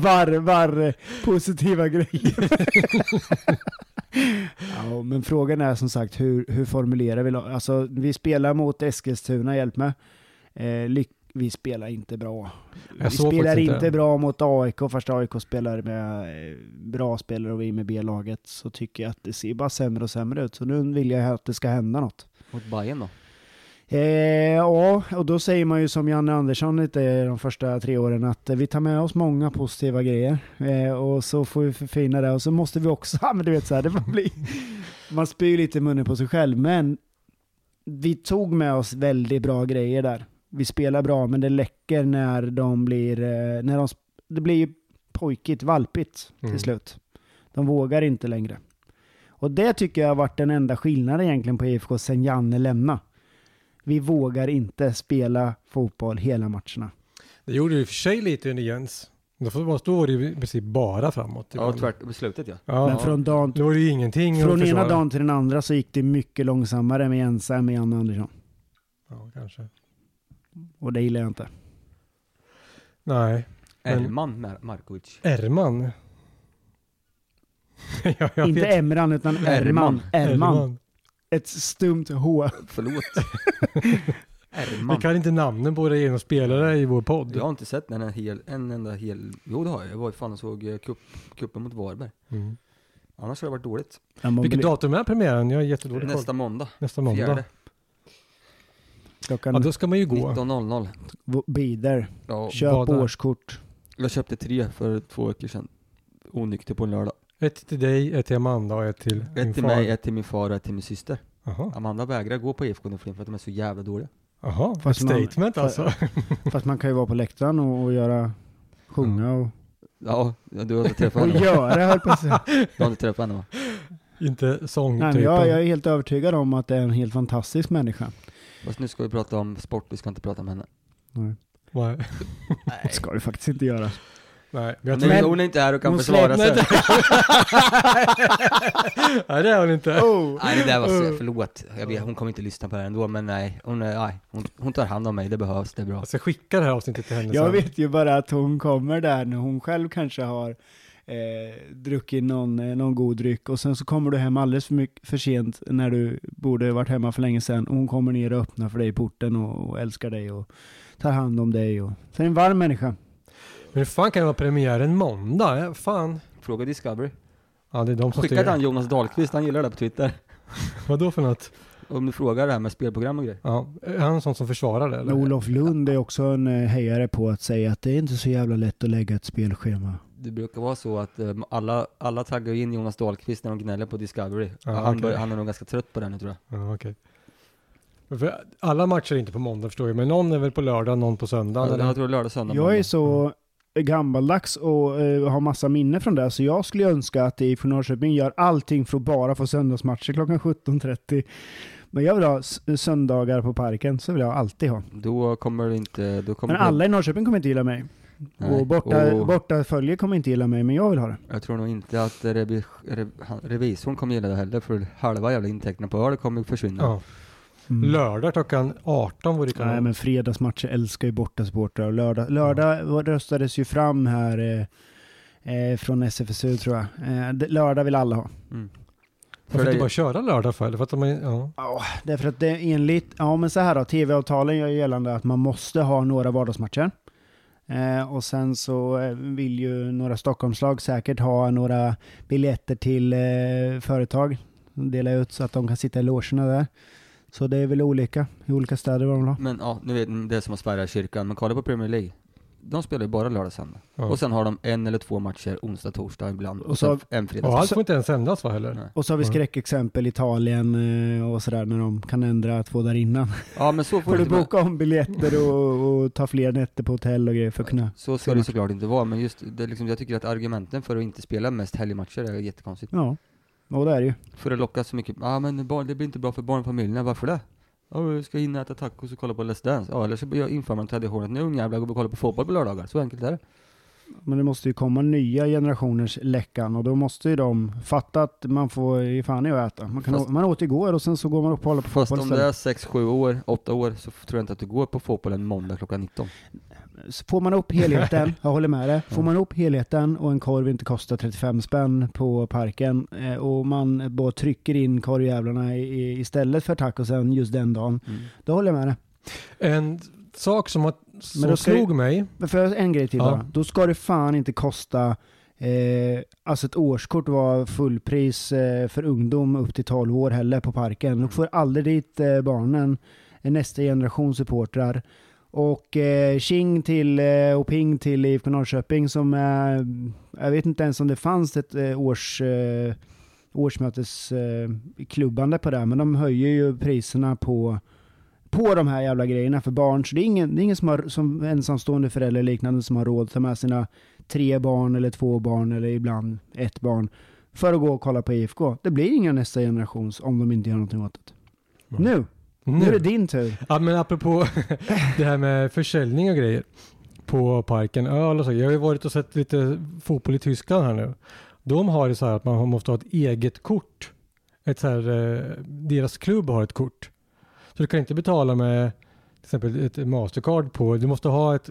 A: varvar positiva grejer. ja, men frågan är som sagt hur, hur formulerar vi lag- Alltså vi spelar mot Eskilstuna, hjälp mig. Eh, lyck- vi spelar inte bra. Vi
B: Jag såg
A: spelar
B: faktiskt
A: inte.
B: inte.
A: bra mot AIK, fast AIK spelar med eh, bra spelare och vi med B-laget. Så tycker jag att det ser bara sämre och sämre ut. Så nu vill jag att det ska hända något.
C: Mot Bayern då?
A: Eh, ja, och då säger man ju som Janne Andersson lite de första tre åren att eh, vi tar med oss många positiva grejer eh, och så får vi förfina det och så måste vi också, ja men du vet så här, det får bli, man spyr lite i munnen på sig själv men vi tog med oss väldigt bra grejer där. Vi spelar bra men det läcker när de blir, eh, när de, sp- det blir ju pojkigt, valpigt till
B: Mm.
A: slut. De vågar inte längre. Och det tycker jag har varit den enda skillnaden egentligen på IFK sen Janne lämnade. Vi vågar inte spela fotboll hela matcherna.
B: Det gjorde ju i och för sig lite under Jens. Då var- då var det ju i princip bara framåt.
C: Ja,
B: ibland.
C: tvärt beslutet ja.
A: Men
B: Ja,
A: från, dagen,
B: då var det ju ingenting att
A: från ena
B: försvara.
A: dagen till den andra så gick det mycket långsammare med Jensa än med Janne Andersson.
B: Ja, kanske.
A: Och det gillar jag inte.
B: Nej. Men-
C: Elman Mar- Markovic.
B: Erman. ja, jag
A: inte
B: vet.
A: Emran utan Erman.
C: Erman.
A: Erman. Ett stumt H.
C: Förlåt.
B: Vi
C: Erman.
B: kan inte namnen på det genom spelare i vår podd.
C: Jag har inte sett den här hel, en enda hel, jo det har jag, jag var ju fan och såg eh, cup, cupen mot Varberg.
B: Mm.
C: Annars har det varit dåligt.
A: Ja, man
B: Vilket
A: blir-
B: datum är premiären? Jag är jättedålig
C: Nästa
B: koll.
C: måndag,
B: Nästa måndag.
C: fjärde,
A: Klockan
B: Ja, då ska man ju gå.
C: 19.00.
A: v- bider.
C: Ja,
A: Köp
B: bada.
A: årskort.
C: jag köpte tre för två veckor sedan. Onykter på en lördag.
B: Ett till dig, ett till Amanda och ett till din
C: Ett till
B: far.
C: mig, ett till min far och ett till min syster.
B: Jaha.
C: Amanda vägrar gå på IFK nu för tiden för att de är så jävla dåliga.
B: Jaha. Ett
A: Fast man-
B: statement
A: fa-
B: alltså.
A: Fast man kan ju vara på läktaren och, och göra, sjunga och,
C: Ja, du har inte träffat
A: och
C: henne va?
A: göra höll på att säga.
C: Du har inte träffat henne va?
B: inte
A: Nej, men
B: sångtypen.
A: jag, jag är helt övertygad om att det är en helt fantastisk människa.
C: Fast nu ska vi prata om sport, vi ska inte prata om henne.
B: Nej.
A: Det ska du faktiskt inte göra.
B: Nej, men jag
C: Hon
B: tror...
C: är,
A: Men-
C: hon är inte här och kan
A: Hon
C: försvara sig.
B: Nej, det- Nej, det är hon inte.
A: Oh.
C: Nej det där var
B: Mm.
C: så, förlåt. Jag vet, hon kommer inte lyssna på det här ändå men nej. Hon, är, nej. hon, hon tar hand om mig, det behövs, det är bra.
B: Jag ska skicka det här avsnittet till henne
A: Jag
B: sen.
A: vet ju bara att hon kommer där när hon själv kanske har eh, druckit någon, eh, någon god dryck och sen så kommer du hem alldeles för, mycket, för sent när du borde varit hemma för länge sedan och hon kommer ner och öppnar för dig i porten och, och älskar dig och tar hand om dig. Och, så är det en varm människa.
B: Men hur fan kan det vara premiären måndag? Ja, Fan.
C: Fråga Discovery.
B: Ja, det är de som
C: Skicka
B: styr.
C: till han Jonas Dahlqvist, han gillar det på Twitter.
B: Vadå för något?
C: Om du frågar det här med spelprogram och grejer.
B: Ja, är han en sån som försvarar det eller?
A: Men Olof Lund är också en eh, hejare på att säga att det är inte så jävla lätt att lägga ett spelschema.
C: Det brukar vara så att eh, alla, alla taggar ju in Jonas Dahlqvist när de gnäller på Discovery.
B: Ja,
C: han,
B: okej.
C: bör, han är nog ganska trött på det nu tror jag.
B: Ja, okej. För alla matcher är inte på måndag förstår jag, men någon är väl på lördag, någon på söndag?
C: jag,
B: eller?
C: jag tror det är lördag, söndag,
A: Jag är
C: måndag.
A: så gammaldags och eh, har massa minne från det, så jag skulle önska att IFK Norrköping gör allting för att bara få söndagsmatcher klockan 17.30. Men jag vill ha s- söndagar på parken, så vill jag alltid ha.
C: Då kommer det inte... Då kommer
A: Men alla i Norrköping kommer inte gilla mig.
C: Nej. Oh.
A: Och borta,
C: Och-
A: borta följe kommer inte gilla mig, men jag vill ha det.
C: det, jag tror nog inte att eh, revi, rev, han- revisorn kommer gilla det heller för halva jävla intäkterna på öl kommer försvinna.
B: Ja.
A: Mm.
B: Lördag klockan 18 vore kanon.
A: Nej, men fredagsmatcher älskar ju bortasupportrar och lördag, lördag röstades ju fram här eh, eh, från SFSU tror jag. Eh, d- lördag vill alla ha.
C: Mm.
B: Varför
C: För det-
B: inte bara köra lördag för? Eller för att de är, ja.
A: Ja, därför att det är enligt, ja men så här då, tv-avtalen gör ju gällande att man måste ha några vardagsmatcher. Eh, och sen så eh, vill ju några Stockholmslag säkert ha några biljetter till eh, företag, dela ut så att de kan sitta i logerna där. Så det är väl olika i olika städer vad de vill ha.
C: Men ja, nu vet ni, det är som att spärra kyrkan, men kolla på Premier League. De spelar ju bara lördag söndag.
B: Ja.
C: Och sen har de en eller två matcher onsdag, torsdag ibland.
A: Och
C: Och sen
A: så-
C: en fredag.
B: Och allt får inte ens sändas va heller?
C: Nej.
A: Och så har vi
B: Ja.
A: skräckexempel Italien eh, och sådär när de kan ändra två dagar innan.
C: Ja men så
A: Får
C: får det
A: du
C: inte vara.
A: boka om biljetter och, och ta fler nätter på hotell och grejer för att kunna.
C: Så ska det såklart inte vara, men just det, är liksom, jag tycker att argumenten för att inte spela mest helgmatcher är jättekonstigt.
A: Ja, och det är det ju.
C: För att locka så mycket, ja ah, men barn, det blir inte bra för barnfamiljerna, varför det? Ja, vi ska hinna äta tacos och kolla på Let's Dance. Ja, eller så inför man traditionen att nu ungjävlar går vi och kollar på fotboll på lördagar. Så enkelt är det.
A: Men det måste ju komma nya generationers Läckan och då måste ju de fatta att man får ge fan i att äta. Man, kan
C: Fast-
A: å, man åt igår och sen så går man upp och håller på
C: Fast
A: fotboll
C: om det är
A: istället.
C: 6-7 år, 8 år, så f- tror jag inte att du går på fotboll en måndag klockan 19.
A: Så får man upp helheten, jag håller med dig, får man upp helheten och en korv inte kostar 35 spänn på parken eh, och man bara trycker in korvjävlarna i- i- istället för tacosen just den dagen, då håller jag med dig.
B: En sak som, har, som
A: då ska
B: slog mig,
A: Men för en grej till
B: Ja.
A: bara. Då ska det fan inte kosta, eh, alltså ett årskort var fullpris eh, för ungdom upp till 12 år heller på parken. Då får aldrig dit eh, barnen, eh, nästa generation supportrar. Och eh, tjing till eh, och ping till IFK Norrköping som är, jag vet inte ens om det fanns ett eh, års, eh, årsmötesklubbande eh, klubbande på det, här, men de höjer ju priserna på på de här jävla grejerna för barn. Så det är ingen, det är ingen som, har, som ensamstående förälder eller liknande som har råd att ta med sina tre barn eller två barn eller ibland ett barn för att gå och kolla på IFK. Det blir inga nästa generations om de inte gör någonting åt det.
B: Nej.
A: Nu, nu är det din tur.
B: Ja men apropå det här med försäljning och grejer på parken, öl och så. Jag har ju varit och sett lite fotboll i Tyskland här nu. De har det så här att man måste ha ett eget kort. Ett så här, eh, deras klubb har ett kort. Så du kan inte betala med till exempel ett Mastercard på. Du måste ha ett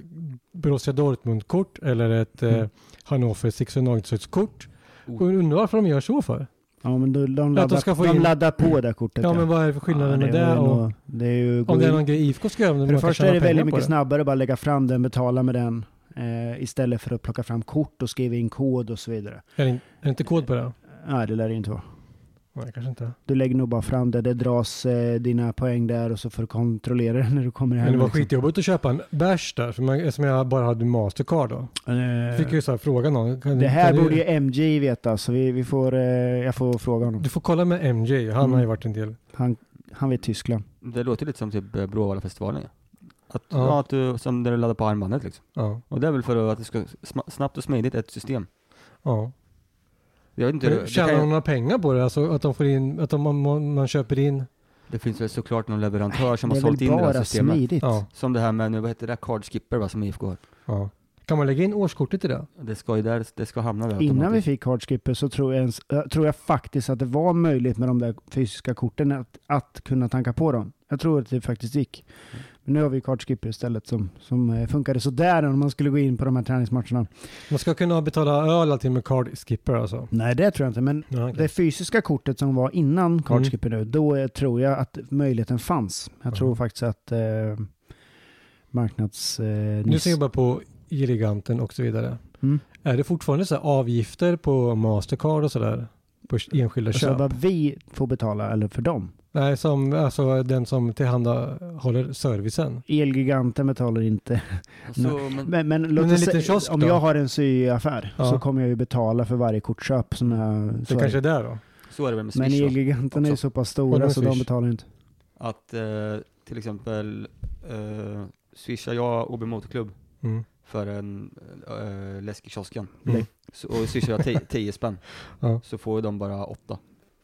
B: Borussia Dortmund-kort eller ett
A: Mm.
B: eh, Hannover 690-kort.
C: Oh.
B: Och jag undrar varför de gör så för?
A: Ja, men de, de,
B: Ja,
A: laddar,
B: att de ska få
A: de
B: in-
A: laddar på det kortet.
B: Ja men vad är det för skillnad
A: Ja,
B: med
A: är
B: det?
A: väl
B: Och
A: nå- det är ju gå
B: om det är
A: in-
B: någon grej IFK ska göra? om de
A: För det
B: bara kan
A: första
B: tjäna
A: är det
B: pengar
A: väldigt
B: på
A: mycket
B: det.
A: snabbare att bara lägga fram den, betala med den eh, istället för att plocka fram kort och skriva in kod och så vidare.
B: Är det, är det inte kod på det?
A: Nej, det lär det inte vara.
B: Nej, kanske inte.
A: Du lägger nog bara fram det, det dras eh, dina poäng där och så får du kontrollera det när du kommer hem.
B: Men det var
A: liksom.
B: skitjobbigt att köpa en bärs där, för man, eftersom jag bara hade Mastercard då.
A: Eh,
B: Fick jag ju så här fråga någon. Kan,
A: det här
B: kan
A: borde
B: du,
A: ju MJ veta, så vi, vi får, eh, jag får fråga honom.
B: Du får kolla med MJ, han
A: Mm.
B: har ju varit en del.
A: Han, han vet Tyskland.
C: Det låter lite som typ eh, Bråvallafestivalen ja. Att,
B: Ja.
C: ja. att du, som där du laddar på armbandet liksom.
B: Ja,
C: Och det är väl för att det ska sma- snabbt och smidigt ett system.
B: ja.
C: Jag vet inte,
B: Du,
C: det,
B: Tjänar
C: kan,
B: de
C: ju-
B: några pengar på det? Alltså att de får in, att de, man, man köper in?
C: det finns väl såklart någon leverantör som
A: det
C: har
A: är väl
C: sålt in det här
A: bara
C: systemet.
A: smidigt.
B: Ja,
C: Som det här med nu, vad heter det, card skipper va, som IFK har.
B: ja. Kan man lägga in årskortet i det?
C: Det ska ju där, det ska hamna där
A: Innan vi
C: automatiskt.
A: fick hardskipper så tror jag, ens, eh, tror jag faktiskt att det var möjligt med de där fysiska korten att, att kunna tanka på dem. Jag tror att det faktiskt gick. Men nu har vi hardskipper istället som, som eh, funkade sådär när man skulle gå in på de här träningsmatcherna.
B: Man ska kunna betala öl allting med card skipper alltså?
A: Nej, det tror jag inte. Men
B: Ja, okej.
A: Det fysiska kortet som var innan
B: Mm.
A: Cardskipper nu, då eh, tror jag att möjligheten fanns. Jag tror
B: Mhm.
A: faktiskt att eh, marknads... Eh,
B: Nu
A: nyss-
B: tänker jag bara på Giganten och så vidare.
A: Mm.
B: Är det fortfarande så här avgifter på Mastercard och sådär? På enskilda
A: alltså
B: köp?
A: vad vi får betala, eller för dem.
B: Nej, som, alltså den som tillhandahåller servicen.
A: Elgiganten betalar inte.
C: Och Så, men,
A: Men, men, låt
B: Mm. en
A: oss
B: liten
A: säga-
B: kiosk
A: om
B: då?
A: jag har en syaffär
B: Ja.
A: så kommer jag ju betala för varje kortköp som jag...
B: Det
A: så är
B: kanske är
A: det.
B: där då?
C: så är det väl med
A: Men
C: Swish va?
A: Elgiganten är ju
C: också.
A: så pass
B: Och
A: stora
B: de
A: så de
B: Swish.
A: betalar inte.
C: Att eh, till exempel eh, swishar jag OB Motorklubb
B: Mm.
C: för en eh, läsk i kiosken
B: Mm.
C: så, och swishar jag ti- 10 spänn
B: Ja.
C: så får ju de bara 8.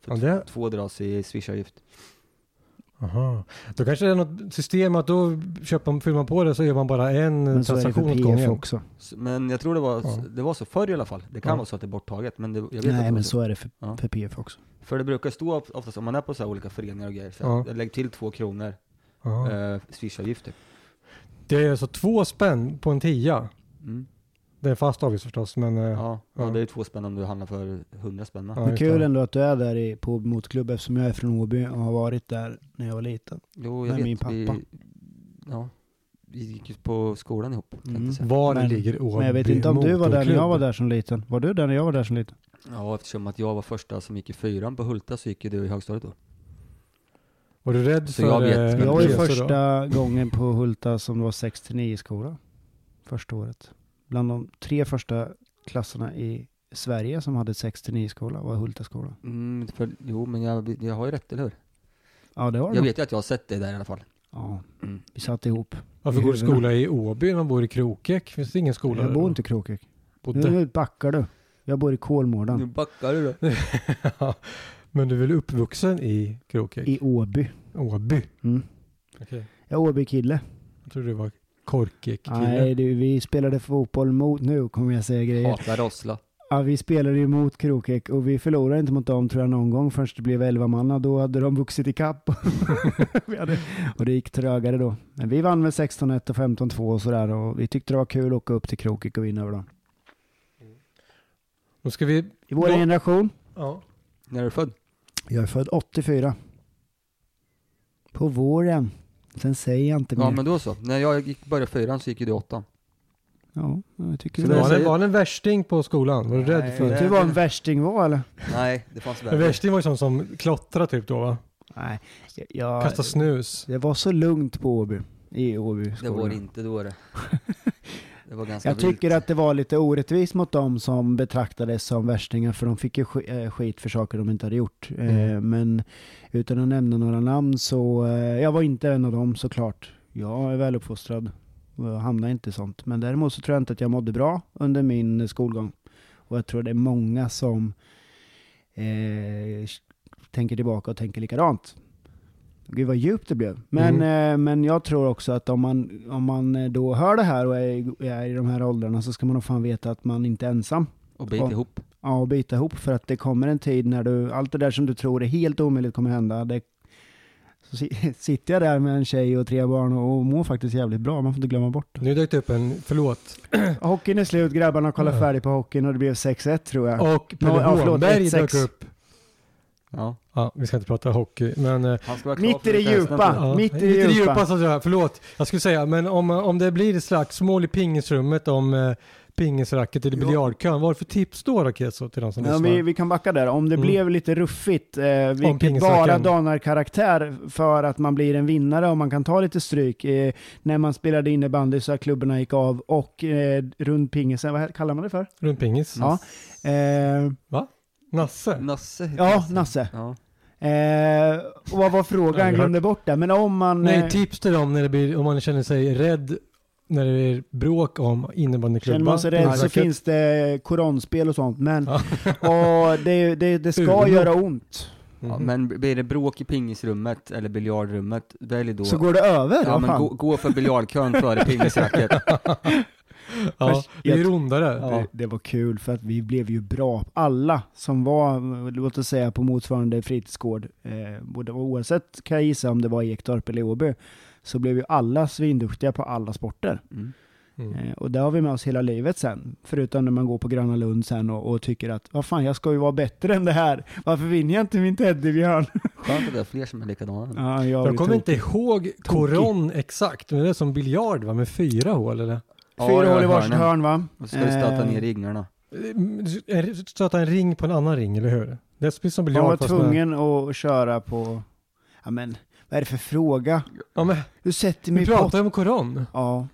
B: Ja, det,
C: Två dras i swishavgift.
B: aha. Då kanske det är något system att då köper, fyller man på det så gör man bara en
A: Men så är det
B: transaktion
A: för
B: åt
A: PF
B: gången.
A: också.
C: S- Men jag tror det var,
B: Ja.
C: det var så förr i alla fall. Det kan
B: Ja.
C: vara så att det är borttaget men det, jag vet
A: Nej,
C: att det var
A: men så är det för,
C: Ja.
A: för PF också.
C: För det brukar stå of- oftast om man är på så här olika föreningar och grejer, så här,
B: Ja.
C: jag lägger till två kronor
B: Aha.
C: eh, swishavgifter.
B: Det är alltså två spänn på en tia.
C: Mm.
B: Det är en fast avgift förstås, men eh,
C: Ja. Ja,
B: Ja.
C: det är ju två spänn om du handlar för 100 spänn med.
B: Ja,
A: Men
B: just
A: kul
B: det.
A: ändå att du är där i, på motklubb eftersom jag är från Åby och har varit där när jag var liten.
C: Jo, jag
A: Med
C: vet.
A: min pappa.
C: Vi, ja, vi gick ju på skolan ihop. tänkte jag
A: Mm.
C: säga.
B: var
A: Men-
B: ligger Åby
A: Men jag vet inte om du var där när jag
B: Motorklubb?
A: var där som liten. Var du där när jag var där som liten?
C: Ja, eftersom att jag var första som gick i fyran på Hulta så gick ju du i högstadiet då.
B: Var du rädd
C: Så
B: för
C: jag vet,
B: eh,
C: men
A: Jag var ju
B: resor då?
A: första gången på Hulta som var 6-9 skola. Första året. Bland de tre första klasserna i Sverige som hade 6-9 skola var Hultaskolan.
C: Mm, för, jo, men jag, jag har ju rätt, eller hur?
A: Ja, det var det.
C: Jag
A: nog.
C: vet ju att jag har sett dig där i alla fall.
A: Ja,
C: Mm.
A: vi satt ihop.
B: Varför går du
A: Huvudena.
B: skola i Åby när man bor i Krokek? Finns det ingen skola
A: jag
B: där
A: bor
B: då?
A: inte i Krokek.
B: Bodde.
A: Nu backar du. Jag bor i
C: Nu
A: Kolmården.
C: backar du då.
B: Ja, men du är väl uppvuxen i Krokek?
A: I Åby.
B: Åby?
A: Mm.
B: Okej.
A: Jag är Åby-kille.
B: Jag trodde du var korkig kille.
A: Nej, du, vi spelade fotboll mot, nu kommer jag säga grejer.
C: Hatar Osla.
A: Ja, vi spelade ju mot Krokek och vi förlorade inte mot dem tror jag någon gång förrän det blev 11 manna. Då hade de vuxit i kapp. vi hade, och det gick trögare då. Men vi vann med 16-1 och 15-2 och sådär och vi tyckte det var kul att åka upp till Krokek och vinna över dem.
B: Då ska vi...
A: I vår
B: Ja.
A: generation,
B: Ja.
C: När är du född?
A: jag är född 84. På våren. Sen säger jag inte
C: Ja
A: mer.
C: men då så. När jag gick, började fyran så gick ju du åttan.
A: Ja, jag tycker
C: Så
A: det.
B: Var
C: det
A: Var...
C: säger-
B: han, var han en värsting på skolan? Var du
C: Nej,
B: rädd för
C: det-
B: det?
A: Du var en värsting var eller?
C: Nej, det fanns
B: En
C: värre.
B: värsting var ju sån som klottrade typ då va?
A: Nej, jag,
B: Kasta snus.
A: det var så lugnt på Åby. I Åby
C: Det
A: skola.
C: var det inte då det. Det var ganska
A: Jag
C: vilt.
A: tycker att det var lite orättvist mot dem som betraktades som värstingar, för de fick ju sk- eh, skit för saker de inte hade gjort. Eh,
C: Mm.
A: Men utan att nämna några namn så, eh, jag var inte en av dem såklart. Jag är väluppfostrad och jag hamnade inte i sånt. Men däremot så tror jag inte att jag mådde bra under min eh, skolgång. Och jag tror det är många som eh, tänker tillbaka och tänker likadant. Gud vad djupt det blev. Men, eh, men jag tror också att om man, om man eh, då hör det här och är, i- är i de här åldrarna så ska man nog fan veta att man inte är ensam.
C: Och bit
A: Ja.
C: ihop.
A: Ja, och bita ihop för att det kommer en tid när du, allt det där som du tror är helt omöjligt kommer hända. Det, så si- sitter jag där med en tjej och tre barn och, och mår faktiskt jävligt bra, man får inte glömma bort det.
B: Nu dök det upp en, förlåt,
A: Hockeyn är slut, grabbarna kollar
B: Ja.
A: färdigt på hockeyn och det blev 6-1 tror jag.
B: och Pelle
A: ja, förlåt,
B: Holmberg
A: 1-6.
B: dök upp.
C: Ja.
B: Ja, vi ska inte prata hockey, men... eh,
C: Han ska vara klar
A: Mitt
C: för
A: i det
C: lite resten av
A: djupa.
C: tiden.
B: Ja,
A: mitt i det
B: lite
A: djupa.
B: så tror jag. Förlåt, jag skulle säga, men om, om det blir slagsmål i pingisrummet om eh, pingisracket eller
A: Ja.
B: biljardkön, vad är det för tips då Rakeso till de som
A: Ja,
B: lyssnar?
A: vi, vi kan backa där. Om det
B: Mm.
A: blev lite ruffigt, eh, vilket
B: pingisracken.
A: bara danar karaktär för att man blir en vinnare och man kan ta lite stryk. Eh, när man spelade innebandy så att klubborna gick av och eh, runt pingisen, vad kallar man det för?
B: Runt pingis?
A: Ja. Eh,
B: Nasse?
C: Nasse heter
A: ja,
C: Nasse.
A: Nasse.
C: Ja.
A: Eh, och vad var frågan?
B: Ja,
A: Jag
B: vi
A: glömde bort det. Men om man... eh,
B: Nej, tips till dem när det blir, om man känner sig rädd när det är bråk om innebandyklubban.
A: Känner man sig rädd så
B: pingisracket.
A: finns det koronspel och sånt. Men
B: Ja.
A: och det, det, det ska
B: Uno.
A: göra ont.
B: Mhm.
C: Ja, men blir det bråk i pingisrummet eller biljardrummet, välj då...
A: Så går det över.
C: ja,
A: vad
C: men
A: fan.
C: gå, gå för biljardkön före pingisracket.
B: ja, det är
A: Jag-
B: rundare.
A: Det, det var kul för att vi blev ju bra. Alla som var, låt oss säga på motsvarande fritidsgård, eh, både, oavsett kan jag gissa om det var i Ektorp eller i Åby, så blev ju alla svinduktiga på alla sporter.
C: Mm.
B: Mm.
A: Eh, och det har vi med oss hela livet sen. Förutom när man går på Gröna Lund sen och, och tycker att vad fan, jag ska ju vara bättre än det här. Varför vinner jag inte min teddybjörn?
C: Skönt att det är fler som är likadana.
A: Ja, jag
B: Jag
A: blir
B: kommer
A: tokig.
B: inte ihåg koron exakt, men det är som biljard va, med fyra hål eller?
A: Fyra hål i
C: ja,
A: varsitt
C: hörnen.
A: hörn Eh. va?
C: Och så ska du stöta ner ringarna.
B: Eh, En- Stöta en ring på en annan ring, eller hur? Det är precis som biljard
A: Man var
B: fast med-
A: tvungen att köra på, ja men, vad är det för fråga?
B: Ja, men,
A: Du sätter mig
B: vi
A: i potten.
B: pratar om koron.
A: Ja.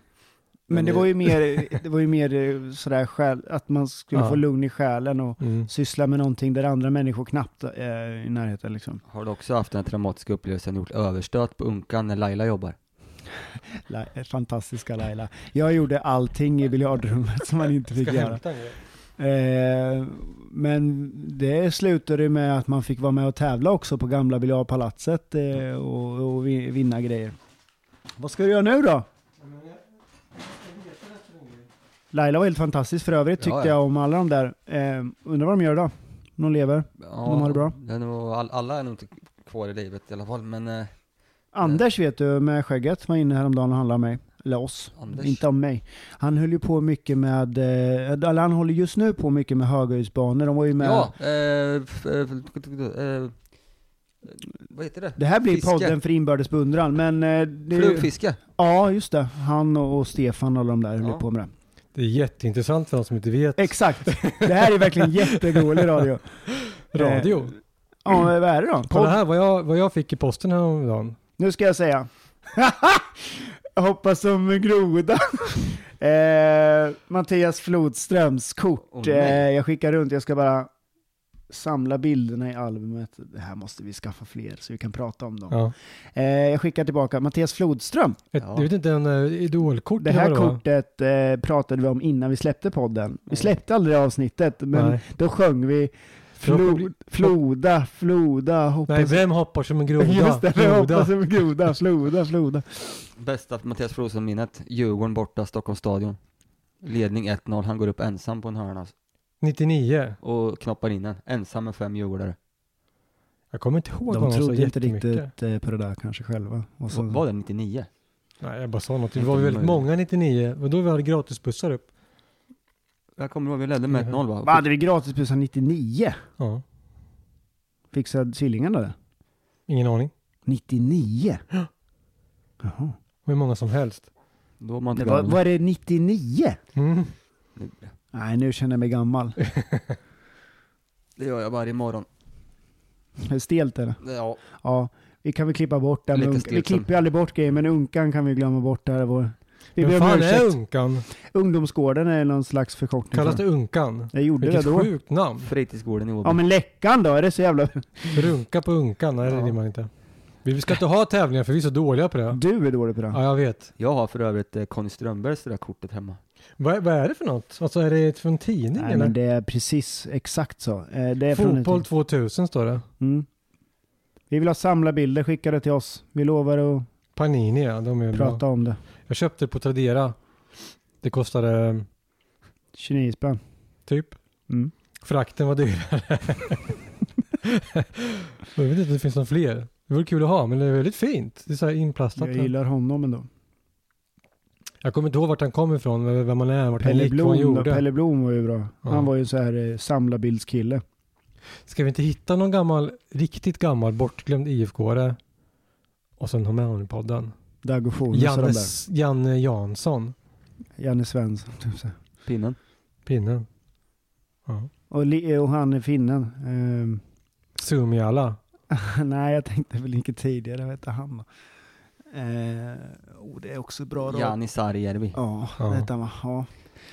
A: Men,
C: Men
A: det,
C: det-
A: var ju mer, det var ju mer eh, sådär själ, att man skulle
B: Ja.
A: få lugn i själen och syssla med någonting där andra människor knappt eh, är i närheten liksom.
C: Har du också haft den traumatiska upplevelsen gjort överstöt på unkan när Laila jobbar?
A: La- fantastiska Laila. Jag gjorde allting i biljardrummet som man inte fick göra. Eh, men det slutade ju med att man fick vara med och tävla också på gamla biljardpalatset eh, och, och vi- vinna grejer. Vad ska du göra nu då? Laila var helt fantastisk för övrigt tyckte
C: Ja, ja.
A: jag om alla de där. Eh, undrar vad de gör idag? Om de lever?
C: Ja,
A: har det bra.
C: är nog, all, alla är nog inte kvar i livet i alla fall, men eh,
A: Anders vet du med skägget var inne häromdagen och handlade om mig. Eller oss.
C: Anders.
A: Inte om mig. Han höll ju på mycket med, eh, eller han håller just nu på mycket med höghöjdsbanor. De var ju med.
C: ja, eh, f- eh, eh, vad heter det?
A: Det här blir
C: Fiske.
A: podden för inbördes beundran, men... eh, Det,
C: Flugfiske.
A: Ja, just det. Han och och Stefan och de där höll
C: Ja.
A: på med det.
B: Det är jätteintressant för de som inte vet.
A: Exakt. Det här är verkligen jättedålig radio.
B: Radio.
A: Ja, men vad är det då?
B: Kolla
A: eh, Podd.
B: här vad jag, vad jag fick i posten häromdagen.
A: Nu ska jag säga. jag hoppas som en groda. eh, Mattias Flodströms kort.
C: Åh,
A: eh,
C: nej.
A: jag skickar runt, jag ska bara samla bilderna i albumet. Det här måste vi skaffa fler så vi kan prata om dem.
B: Ja.
A: Eh, jag skickar tillbaka Mattias Flodström.
B: Ett,
C: Ja.
B: Jag vet inte, en eh, idolkort
A: Det
B: eller
A: här
B: vad var.
A: kortet eh, pratade vi om innan vi släppte podden. Vi släppte aldrig avsnittet, men
B: Nej.
A: då sjöng vi Flo, floda, floda,
B: Nej,
A: hoppas...
B: vem hoppar som en groda?
A: Just det, jag
B: Groda.
A: hoppas det blir groda, floda, floda.
C: Bästa Mattias Flodström-minnet. Djurgården borta, Stockholmsstadion. Ledning 1-0, han går upp ensam på en hörna
B: 99.
C: och knoppar in den. Ensam med fem djurgårdare.
B: Jag kommer inte ihåg
A: De
B: honom så
A: trodde inte
B: jättemycket.
A: riktigt eh, på det där kanske själva. Och så,
C: Va- Var det 99?
B: Nej, jag bara sa något. Det
C: Inte
B: var ju väldigt
C: möjligt.
B: många 99. Och då vi hade gratisbussar upp.
C: Jag kommer ihåg, vi ledde med 1-0 va?
A: Vad hade vi gratisbussar 99?
B: Ja,
A: Fixade tvillingarna det?
B: ingen aning.
A: 99? Jaha.
B: Hur många som helst.
C: Då var man
A: Det
C: inte
A: var,
C: gammal.
A: var det 99?
B: Mm.
A: Nej, nu känner jag mig gammal.
C: Det gör jag varje morgon.
A: Hur stelt är det?
C: Ja,
A: Ja, vi kan väl klippa bort den.
C: Lite
A: Unka-
C: stelt
A: Vi klipper ju aldrig bort grejer, men unkan kan vi glömma bort. Där vår... Vi
B: Vem
A: ber om
B: fan är
A: ursäkt.
B: Unkan?
A: Ungdomsgården är någon slags förkortning.
B: Kallas
A: för-
B: det Unkan?
A: Jag gjorde det
B: Vilket
A: då.
B: sjukt namn.
C: fritidsgården i Åby.
A: Ja men läckan då, är det så jävla...
B: Runka på Unkan. Nej, det
A: Ja.
B: vill man inte. Vi ska inte ha tävlingar för vi är så dåliga på det.
A: Du är dålig på det.
B: Ja, jag vet.
C: Jag har för övrigt eh, Conny Strömbergs det där kortet hemma.
B: Vad, vad är det för något? Alltså är det från tidning
A: Nej
B: eller?
A: men det är precis exakt så. Eh, Det är från en
B: Fotboll
A: tid.
B: 2000 står det.
A: Mm. Vi vill ha samla bilder skickade till oss. Vi lovar att
B: Panini ja, de är ju bra.
A: prata om det.
B: Jag köpte det på Tradera. Det kostade eh,
A: 29 spänn.
B: typ.
A: Mm.
B: Frakten var dyrare. jag vet inte om det finns någon fler. Det vore kul att ha, men det är väldigt fint. Det är så här inplastat.
A: Jag
B: Jag,
A: gillar honom ändå.
B: kommer inte ihåg vart han kom ifrån, vem han är, vart han
A: Pelle
B: gick, vad han
A: Blom, då.
B: gjorde.
A: Pelle Blom var ju bra.
B: Ja.
A: Han var ju så här eh, samlarbildskille.
B: Ska vi inte hitta någon gammal, riktigt gammal, bortglömd IFK-are och sen ha med honom i podden?
A: Dag och Fonus och de
B: Janne,
A: där.
B: Janne Jansson,
A: Janne Svensson. Typ så här.
C: Pinnen.
B: pinnen. Ja.
A: och, li- och han är finnen. Ehm,
B: Sumiala.
A: nej, jag tänkte väl inte tidigare. Vad hette han då? Eh, oh, det är också bra då.
C: Jani Sarjärvi.
A: Ja,
B: Ja.
A: vad hette han va? Ja.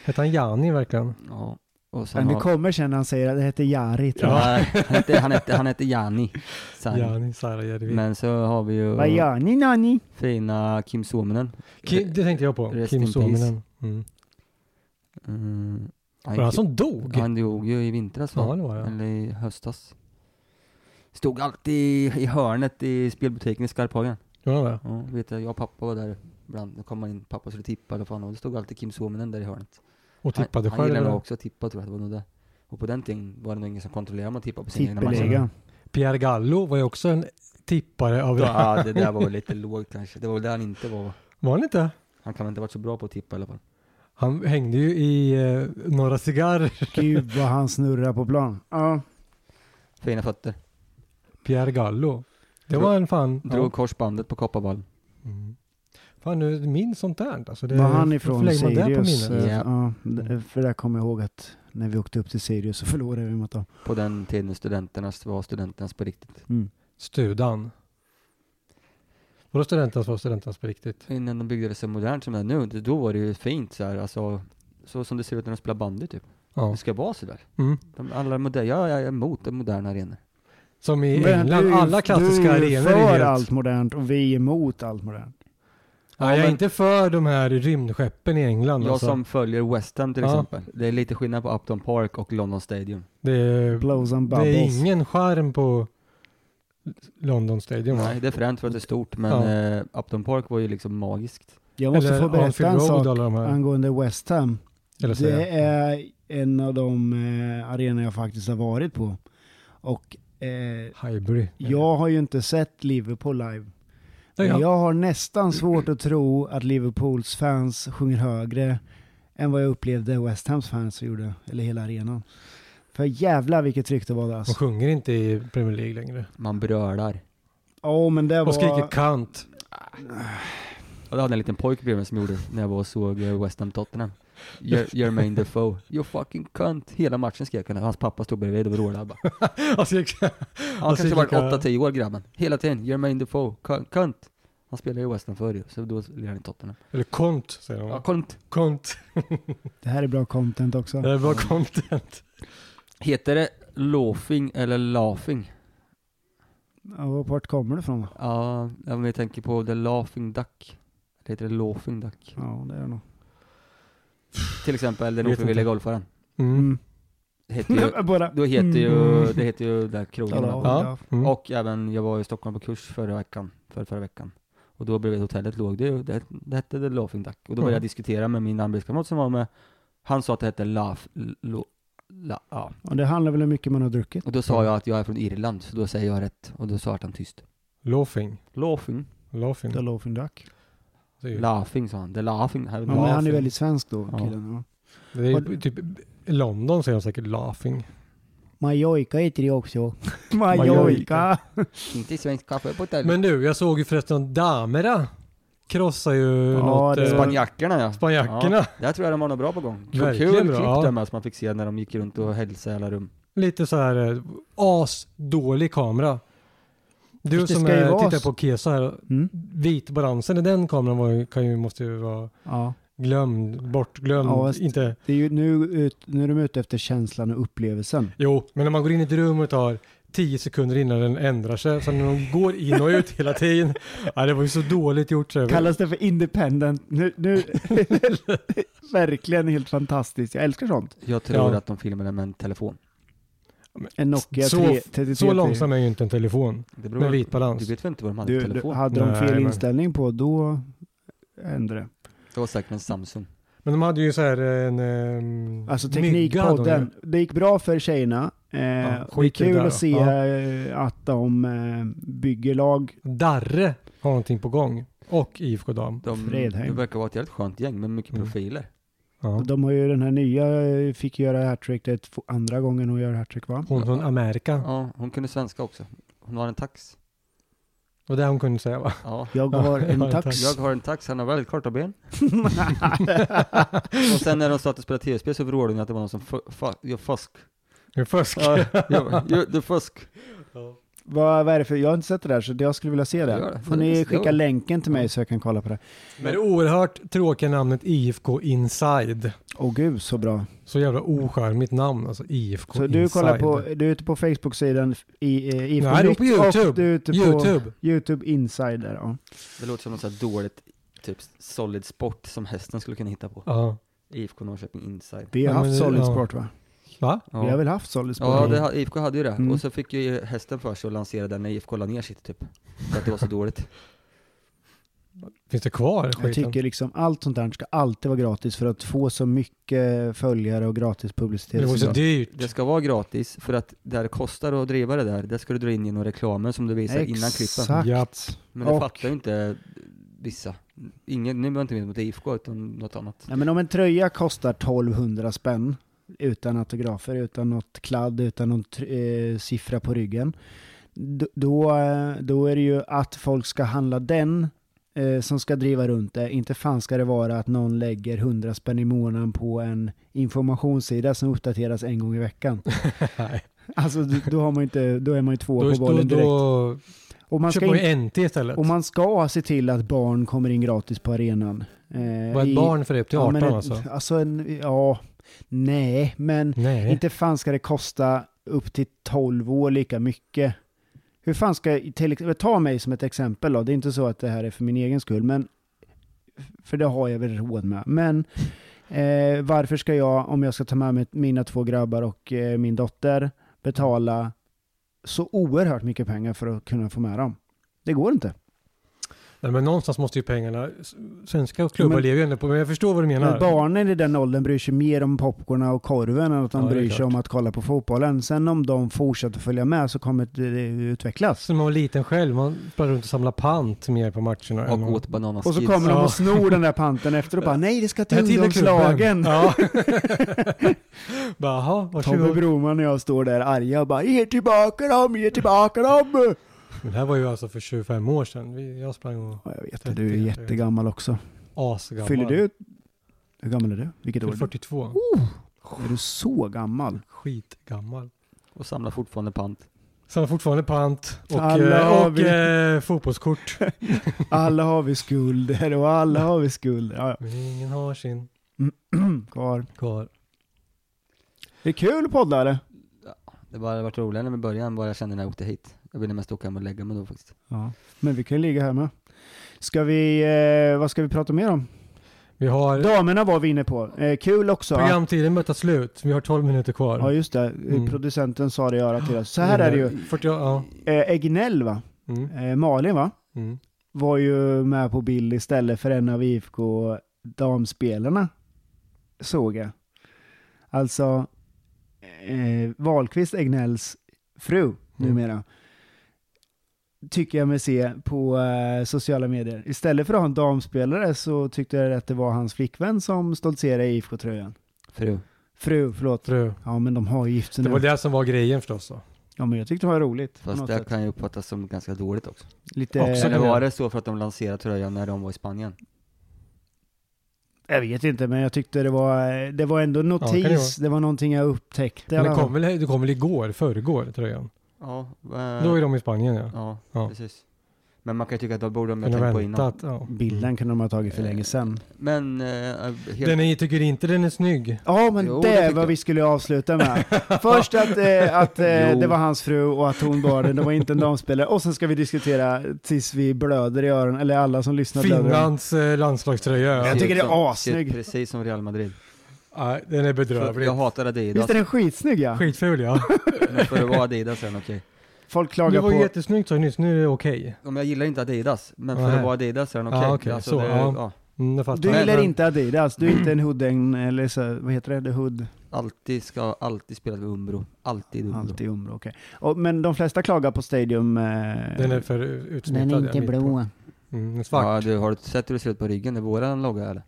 B: Hette han Jani verkligen?
C: Ja. Och sen
A: Men det
C: har...
A: kommer sen när han säger att det heter Jari. tror jag.
C: Nej, han hette, han hette, han hette Jani Sarjärvi.
B: Jani Sarajärvi.
C: Men så har vi ju
A: Vad gör ni Nanni?
C: fina Kim Suominen. Eh,
B: Kim, det tänkte jag på.
C: Rest
B: Kim
C: in peace.
B: Suominen. Mm.
C: Mm.
B: Var det han som dog?
C: han Mm. dog ju i vintras va?
B: Ja, det var det.
C: Eller i höstas. Stod alltid i hörnet i spelbutiken i Skarphagen.
B: Gjorde han det?
C: Ja, vet jag, jag och pappa var där ibland. Då kom man in, pappa skulle tippa eller fan och det stod alltid Kim Suominen där i hörnet.
B: Och tippade
C: han, han
B: själv?
C: gillade nog
B: eller?
C: också att tippa tror jag, det var nog det. Och på den tiden var det nog ingen som kontrollerade om man tippade på sina egna matcher.
A: Tippeligan.
B: Pierre Gallo var ju också en tippare av det.
C: Ja, det där var väl lite lågt kanske. Det var väl där han inte var.
B: Var han inte?
C: Han kan väl inte ha varit så bra på att tippa i alla fall.
B: Han hängde ju i eh, några cigarrer.
A: Gud vad han snurrar på plan. Ja.
C: Fina fötter.
B: Pierre Gallo. Det
C: Drog-
B: var en fan.
C: Drog
B: Ja.
C: korsbandet på Kopparvall.
B: Mm. Fan du minns sånt där alltså. Det,
A: Var han
B: varför
A: ifrån
B: lägger man det på
A: Sirius?
B: minnet?
A: Eh,
C: Ja.
A: Ja, d- för där kommer jag ihåg att när vi åkte upp till Sirius så förlorade vi mot dem.
C: På den tiden studenternas var studenternas på riktigt.
B: Studan. Vadå studenternas var studenternas på riktigt?
C: Innan de byggde det så modernt som det är nu, det- då var det ju fint så här, alltså, så som det ser ut när de spelar bandy typ.
B: Ja.
C: Det ska vara så där.
B: Mm.
C: De, alla moderna, jag jag är emot moderna arenor.
B: Som i
A: Men
B: England, alla klassiska
A: du är ju
B: arenor är
A: för
B: helt...
A: allt modernt och vi är emot allt modernt.
B: Ja, jag är
C: men-
B: inte för de här rymdskeppen i England
C: Jag
B: alltså.
C: som följer West Ham till
B: Ja.
C: exempel, det är lite skillnad på Upton Park och London Stadium.
B: Det är,
A: Blows and
B: det är
A: bubbles.
B: ingen charm på London Stadium va?
C: Nej, det är fränt för att det är stort, men
B: Ja.
C: eh, Upton Park var ju liksom magiskt.
A: Jag måste
B: Eller
A: få berätta
B: Anfield
A: en
B: Road
A: sak
B: Eller de här.
A: angående West Ham.
B: Eller så
A: Det
B: är det.
A: är en av de eh, arenor jag faktiskt har varit på. Och eh,
B: Highbury.
A: jag har ju inte sett Liverpool live.
B: Ja,
A: Men
B: ja.
A: Jag har nästan svårt att tro att Liverpools fans sjunger högre än vad jag upplevde West Hams fans gjorde, eller hela arenan. För jävla vilket tryck det var där
B: De
A: alltså.
B: sjunger inte i Premier League längre.
C: Man brölar.
A: Åh men det
B: Och skriker
A: var...
B: kant.
C: Och det hade en liten pojk bredvid mig som gjorde när jag var och såg eh, West Ham Tottenham. Jer- Jermaine Defoe, you fucking cunt. Hela matchen skrek han. Hans pappa stod bredvid och vrålade. bara.
B: Och skriker-
C: Han
B: Alltså,
C: kanske varit
B: vilka-
C: 8-10 år grabben. Hela tiden, Jermaine Defoe, Cu- cunt. Han spelade i West Ham förr ju, så då lirade han i Tottenham.
B: Eller kont säger
C: Ja,
B: de.
C: cunt.
B: Kont.
A: Det här är bra content också.
B: Det är bra content.
C: Heter det laughing eller laughing?
A: Ja, och vart kommer du ifrån då?
C: Ja, om vi tänker på the laughing duck. Det heter det laughing duck.
A: Ja, det är det nog.
C: Till exempel den
B: Vet
C: ofrivilliga
B: inte.
C: golfaren.
B: Mm.
A: Mm.
C: heter ju,
A: Bara...
C: då heter ju,
A: Mm.
C: det heter ju där krogen
A: Ja,
C: var på.
A: ja.
B: Mm.
C: Och även, jag var i Stockholm på kurs förra veckan, för förra veckan. Och då bredvid hotellet låg det ju, det, det hette The Laughing Duck. Och då
B: Mm.
C: började jag diskutera med min arbetskamrat som var med, han sa att det hette Laugh, lo, la, ja.
A: Och det handlar väl om hur mycket man har druckit.
C: Och då sa jag att jag är från Irland, så då säger jag rätt. Och då sa han tyst.
B: Laughing.
C: Laughing.
B: Laughing.
A: The Laughing Duck.
B: Det är ju-
C: Laughing sa han. The laughing.
A: Ja, men han är
C: laughing.
A: väldigt svensk då,
C: Ja.
A: killen. Ja.
B: Det är ju typ, i London säger de säkert laughing.
A: Majojka heter det också.
C: Majorka. Inte svensk kaffe på hotellet.
B: Men du, jag såg ju förresten Damera krossa ju
A: Ja,
B: något.
A: det-
B: eh,
C: Spanjackerna ja.
B: Spanjackerna.
C: Där tror jag de har något bra på gång. Så
B: Verkligen
C: kul
B: bra,
C: klipp
B: ja.
C: där med som man fick se när de gick runt och hälsade i alla rum.
B: Lite så här eh, asdålig kamera. Du
A: Fast det
B: som
A: ska ju
B: eh,
A: vara
B: tittar
A: s-
B: på Kesa här,
A: Mm.
B: vitbalansen i den kameran var, ju- kan ju, måste ju vara
A: Ja.
B: glömd, bortglömd,
A: Ja, fast-
B: inte...
A: Det är ju nu, ut, nu är de ute efter känslan och upplevelsen.
B: Jo, men när man går in i ett rum och tar tio sekunder innan den ändrar sig, så Alltså, när de går in och ut hela tiden. Ja, det var ju så dåligt gjort. Så jag-
A: Kallas det för independent? Nu, nu verkligen helt fantastiskt. Jag älskar sånt.
C: Jag tror
B: Ja.
C: att de filmade med en telefon.
A: En Nokia
B: Så-
A: 3, 33.
B: så långsam är ju inte en telefon
C: Det
B: med vit
C: Du
B: balans.
C: vet väl inte vad de hade för
A: Du, du,
C: telefon?
A: hade de
B: Nej,
A: fel
B: men-
A: inställning på, då ändrade det.
C: Det var säkert en Samsung.
B: Men de hade ju så här en... ehm,
A: Alltså
B: mygga hade de ju.
A: Teknikpodden, det gick bra för tjejerna. Eh, det är
B: skit i det
A: kul
B: där
A: att
B: då.
A: se
B: Ja.
A: eh, att de eh, bygger lag.
B: Darre har någonting på gång. Och IFK Dam.
C: De,
A: Fredheim.
C: det verkar vara ett jävligt skönt gäng med mycket
B: Mm.
C: profiler.
B: Ja.
A: De har ju den här nya, eh, fick göra hattrick, det är två- andra gången hon gör hattrick va?
B: Hon från Amerika.
C: Ja, hon kunde svenska också. Hon har en tax.
B: Det var det hon kunde säga va?
C: Ja.
A: Jag har en tax.
C: Jag har en tax, han har väldigt korta ben. Och sen när de satt och spelade tv-spel så vrålade hon att det var någon som fu- fa- gör fusk.
B: Det är fusk.
C: Ja, ja, ja, det är fusk.
A: Vad, vad är det för, jag har inte sett det där så jag skulle vilja se
C: Gör
A: det.
C: det.
A: Får
C: Det
A: ni
C: är-
A: skicka
C: ja.
A: länken till mig så jag kan kolla på det.
B: Men det oerhört tråkiga namnet IFK Inside.
A: Åh gud så bra.
B: Så jävla ocharmigt namn alltså. IFK
A: Så
B: Inside.
A: du kollar på, du är ute på Facebook-sidan i, eh, i
B: Nej, det är på YouTube.
A: och du är ute på YouTube,
B: Youtube.
A: Insider. Ja.
C: Det låter som något så här dåligt, typ solid sport som hästen skulle kunna hitta på.
B: Ja.
C: IFK Norrköping Inside.
A: Vi har
B: Ja, men
A: haft
B: det-
A: Solid
B: ja.
A: Sport va?
B: Va?
A: Vi har
C: Ja,
A: väl haft Solid Sport?
C: ja det, ha- IFK hade ju det.
A: Mm.
C: Och så fick ju hästen för sig att lansera den när IFK la ner sitt typ. För att det var så dåligt.
B: Finns det kvar
A: Jag
B: skiten?
A: tycker liksom allt sånt där ska alltid vara gratis för att få så mycket följare och gratis publicitet.
B: det var ju så
A: som
B: dyrt.
C: Det ska vara gratis, för att där det kostar att driva det där, där ska du dra in genom reklamen som du visar
A: möjligt.
C: innan klippen.
A: Exakt.
B: Japp.
C: Men det
A: Och-
C: fattar ju inte vissa. Ingen, nu var jag inte med mot IFK utan något annat.
A: Nej, men om en tröja kostar 1200 spänn utan autografer, utan något kladd, utan någon tr- eh, siffra på ryggen. d- Då, eh, då är det ju att folk ska handla den eh, som ska driva runt det. Inte fan ska det vara att någon lägger 100 spänn i månaden på en informationssida som uppdateras en gång i veckan.
B: Nej.
A: Alltså d- då, har man ju inte, då är man ju två
B: Då,
A: på
B: då,
A: bollen direkt.
B: då
A: Och man, ska
B: köper man
A: in-
B: ju NT istället.
A: och man ska se till att barn kommer in gratis på arenan. Eh,
B: Vad är
A: i-
B: ett barn för det? Upp till 18
A: men ett-
B: alltså?
A: en, ja, nej, men
B: Nej.
A: inte fan ska det kosta upp till 12 år lika mycket. Hur fan ska, till, ex- ta mig som ett exempel då, det är inte så att det här är för min egen skull, men för det har jag väl råd med. Men eh, varför ska jag, om jag ska ta med mig mina två grabbar och eh, min dotter, betala så oerhört mycket pengar för att kunna få med dem? Det går inte.
B: Nej, men någonstans måste ju pengarna... s- Svenska klubbar
A: Men-
B: lever ju ändå på... Men jag förstår vad du menar.
A: Men barnen i den åldern bryr sig mer om popcorn och korven än att de
B: Ja, det är
A: bryr sig
B: klart.
A: om att kolla på fotbollen. Sen om de fortsätter följa med så kommer det utvecklas.
B: Som man var liten själv, man sprang runt och samlade pant mer på matcherna. än
C: Och
B: man-
C: åt bananas
A: Och så
C: skins.
A: kommer de
B: Ja.
A: och snor den där panten efter och bara nej det ska
B: Det här
A: till
B: tillhör klubben.
A: ungdomslagen.
B: Ja. Bara, jaha,
A: Tommy
B: varsågod.
A: Broman och jag står där arga och bara ge tillbaka dem, ge tillbaka dem.
B: Men det här var ju alltså för 25 år sedan. Vi- Jag sprang och
A: Ja, jag vet att du är jättegammal också.
B: asgammal.
A: Fyller du? Hur gammal är du? Vilket år?
B: Fyller
A: är du?
B: 42.
A: Är du så gammal?
B: Skitgammal.
C: och samlar fortfarande pant.
B: Samlar fortfarande pant och,
A: Alla
B: eh,
A: har
B: och
A: vi-
B: eh, fotbollskort.
A: Alla har vi skulder och alla har vi skulder. Ja,
B: Men ingen har sin
A: ja. Kvar.
B: kvar.
A: Det är kul att podda eller?
C: Det bara varit roligare i början vad jag kände när jag åkte hit. Jag ville mest åka hem och lägga mig då faktiskt.
A: Ja, men vi kan ju ligga här med. Ska vi, eh, vad ska vi prata mer om?
B: Vi har
A: Damerna var vi inne på. Eh, kul också.
B: programtiden börjar ta slut. Vi har 12 minuter kvar.
A: Ja just det,
B: Mm.
A: producenten sa det i örat till oss. Så här är det ju.
B: 40, ja.
A: Eh, Egnell va?
B: Mm,
A: Eh, Malin va?
B: mm.
A: Var ju med på bild istället för en av IFK damspelarna. Såg jag. Alltså eh, Wahlqvist Egnells fru
B: Mm.
A: numera. Tycker jag mig se på eh, sociala medier. Istället för att ha en damspelare så tyckte jag att det var hans flickvän som stoltserade i IFK-tröjan.
C: Fru.
A: Fru, förlåt.
B: Tror jag.
A: Ja men de har ju gift sig
B: Det
A: nu.
B: var det som var grejen förstås. Då.
A: Ja men jag tyckte det var roligt. på
C: Fast
A: något
C: det
A: sätt.
C: kan ju uppfattas som ganska dåligt också.
A: Lite,
B: Också
C: Eller
B: kan
C: var
B: jag-
C: det så för att de lanserade tröjan när de var i Spanien?
A: Jag vet inte, men jag tyckte det var, det var ändå
B: Ja,
A: notis.
B: kan det
A: det,
B: vara.
A: var. någonting jag upptäckte. i
B: Men det
A: alla fall.
B: kom väl, det kom väl igår, förrgår tröjan?
C: Ja,
B: Då är de i Spanien ja.
C: ja,
B: Ja.
C: precis. Men man kan ju tycka att då borde de ha
B: Kunde
C: tänkt på innan.
B: väntat. Ja.
A: Bilden kunde de ha tagit för
B: Eh,
A: länge sedan.
C: Men, eh, helt,
B: Den är, tycker inte den är snygg.
A: Ja, men
C: Jo, det
A: det
C: tyckte
A: är vad
C: jag.
A: vi skulle avsluta med. Först att, eh, att eh,
C: Jo.
A: det var hans fru och att hon var det, det var inte en damspelare. Och sen ska vi diskutera tills vi blöder i öronen, eller alla som lyssnar blöder. i öronen.
B: Finlands eh, landslagströja.
A: Jag
B: Ja.
C: ser
A: tycker
C: ut
A: det är
C: som-
A: assnygg.
C: Ser ut precis som Real Madrid.
B: Nej, den är
C: För jag
B: bedrövlig.
C: hatar Adidas,
A: Visst är den skitsnygg ja?
B: Skitful ja.
C: men för att vara Adidas sen, okej.
A: Folk
B: Det
A: klagar
B: var ju
A: på...
B: jättesnyggt så nyss, nu är det okej.
C: Om jag gillar inte Adidas, men för
B: Nej.
C: att vara Adidas sen, okej.
A: Ah,
C: Alltså,
B: Ja, okej, så,
C: det,
B: ja.
C: ja.
B: Mm, jag fattar.
A: Du gillar
B: Men-
A: inte Adidas, du är inte en hooden, eller så, vad heter det? The hood,
C: Alltid ska, alltid spela med Umbro. Alltid Umbro.
A: alltid Umbro, okej. Och- Men de flesta klagar på Stadium... Eh,
B: Den är för utsmittad. ja, mitt på. Mm, den är svart.
C: Ja, du, har du sett hur det ser ut på ryggen? Är våran logga eller?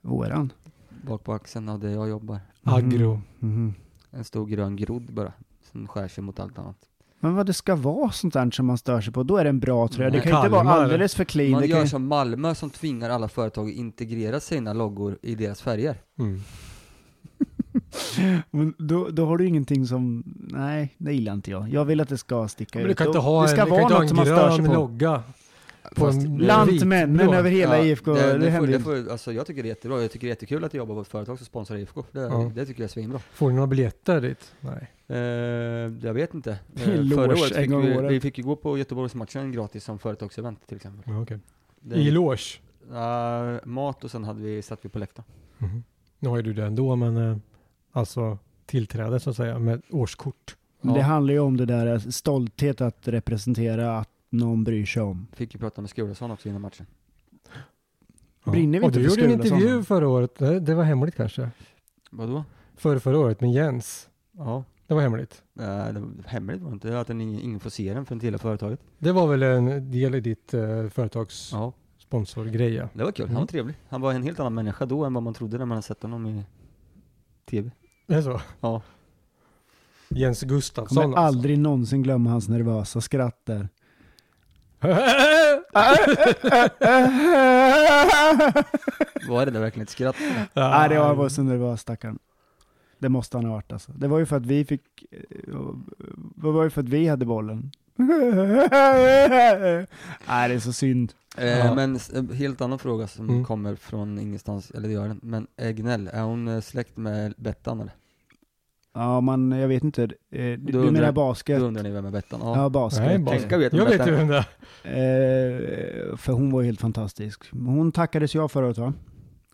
A: Våran.
C: Bak på axeln av det jag jobbar.
B: Agro.
A: Mhm.
C: En stor grön grodd bara, som skär sig mot allt annat.
A: Men vad det ska vara sånt där som man stör sig på, då är det en bra tröja. Det
C: Nej.
A: kan ju inte vara
B: Kalmar.
A: alldeles för clean.
C: Man
A: det
C: gör
A: kan...
C: som Malmö som tvingar alla företag att integrera sina loggor i deras färger.
B: Mm.
A: Men då, då har du ingenting som, nej, det gillar inte jag. Jag vill att det ska sticka
B: Men
A: ut.
B: du kan inte
A: Och
B: ha
A: det ska
B: en, du kan
A: vara
B: inte ha
A: något
B: en
A: som man stör sig
B: grön
A: på.
B: logga. På
C: Fast-
B: en
A: Lantmännen
B: vitblå.
A: över hela
C: Ja,
A: IFK,
C: det,
A: det,
C: det, får,
A: händer
C: det
A: inte.
C: får, alltså, Jag tycker det är jättebra, jag tycker det är jättekul att jobba på ett företag som sponsrar IFK. Det,
B: Ja.
C: det tycker jag är svinbra.
B: Får ni några biljetter dit? Nej.
C: Eh, jag vet inte. Eh,
A: är en
C: förra
A: loge
C: året
A: en
C: fick
A: gång om
C: vi,
A: året.
C: vi fick ju gå på Göteborgsmatchen gratis som företagsevent till exempel.
B: Ja, okej.
C: Det,
B: I loge.
C: Ja, mat och sen hade vi, satt vi på läktaren.
B: Mhm. Nu har ju du det ändå, men eh, alltså tillträde så att säga med årskort.
A: Men Det
C: Ja.
A: handlar ju om det där eh, stolthet att representera, att någon bryr sig om.
C: Fick ju prata med Skulason också innan matchen.
B: Ja.
A: Brinner vi
B: Och
A: inte
B: du
A: för
B: gjorde en
A: Skulason?
B: intervju förra året. Det, det var hemligt kanske.
C: Vadå?
B: Förra, förra året med Jens.
C: Ja.
B: Det var hemligt.
C: Nej, det var hemligt var det inte. Att den ingen, ingen får se den förrän till hela företaget.
B: Det var väl en del i ditt eh, företags
C: Ja.
B: sponsorgrej? ja.
C: Det var kul. Han var
B: Mm.
C: trevlig. Han var en helt annan människa då än vad man trodde när man hade sett honom i TV.
B: Det är så?
C: Ja.
B: Jens Gustafsson alltså.
A: Kommer aldrig någonsin glömma hans nervösa skratt där.
C: Var det där verkligen ett skratt?
A: Nej, det var, var så nervös stackarn. Det måste han ha varit alltså. Det var ju för att vi fick, eh, det var ju för att vi hade bollen. Nej, det är så synd.
C: Eh,
B: Ja.
C: men s- eh, helt annan fråga som
B: Mm.
C: kommer från ingenstans, eller det gör den. Men Egnell, är hon eh, släkt med Bettan eller?
A: Ja, man, jag vet inte. Eh, Du, du
C: undrar-
A: menar
C: Då
A: basket?
C: undrar ni vem är Bettan? Ja.
A: Ja, basket.
B: Nej,
C: bara-
B: bara,
C: Tänka vet
B: jag
C: man
B: vet
C: att
B: ju
C: det-
B: vem det är.
A: Eh, för hon var ju helt fantastisk. Hon tackades jag förut va?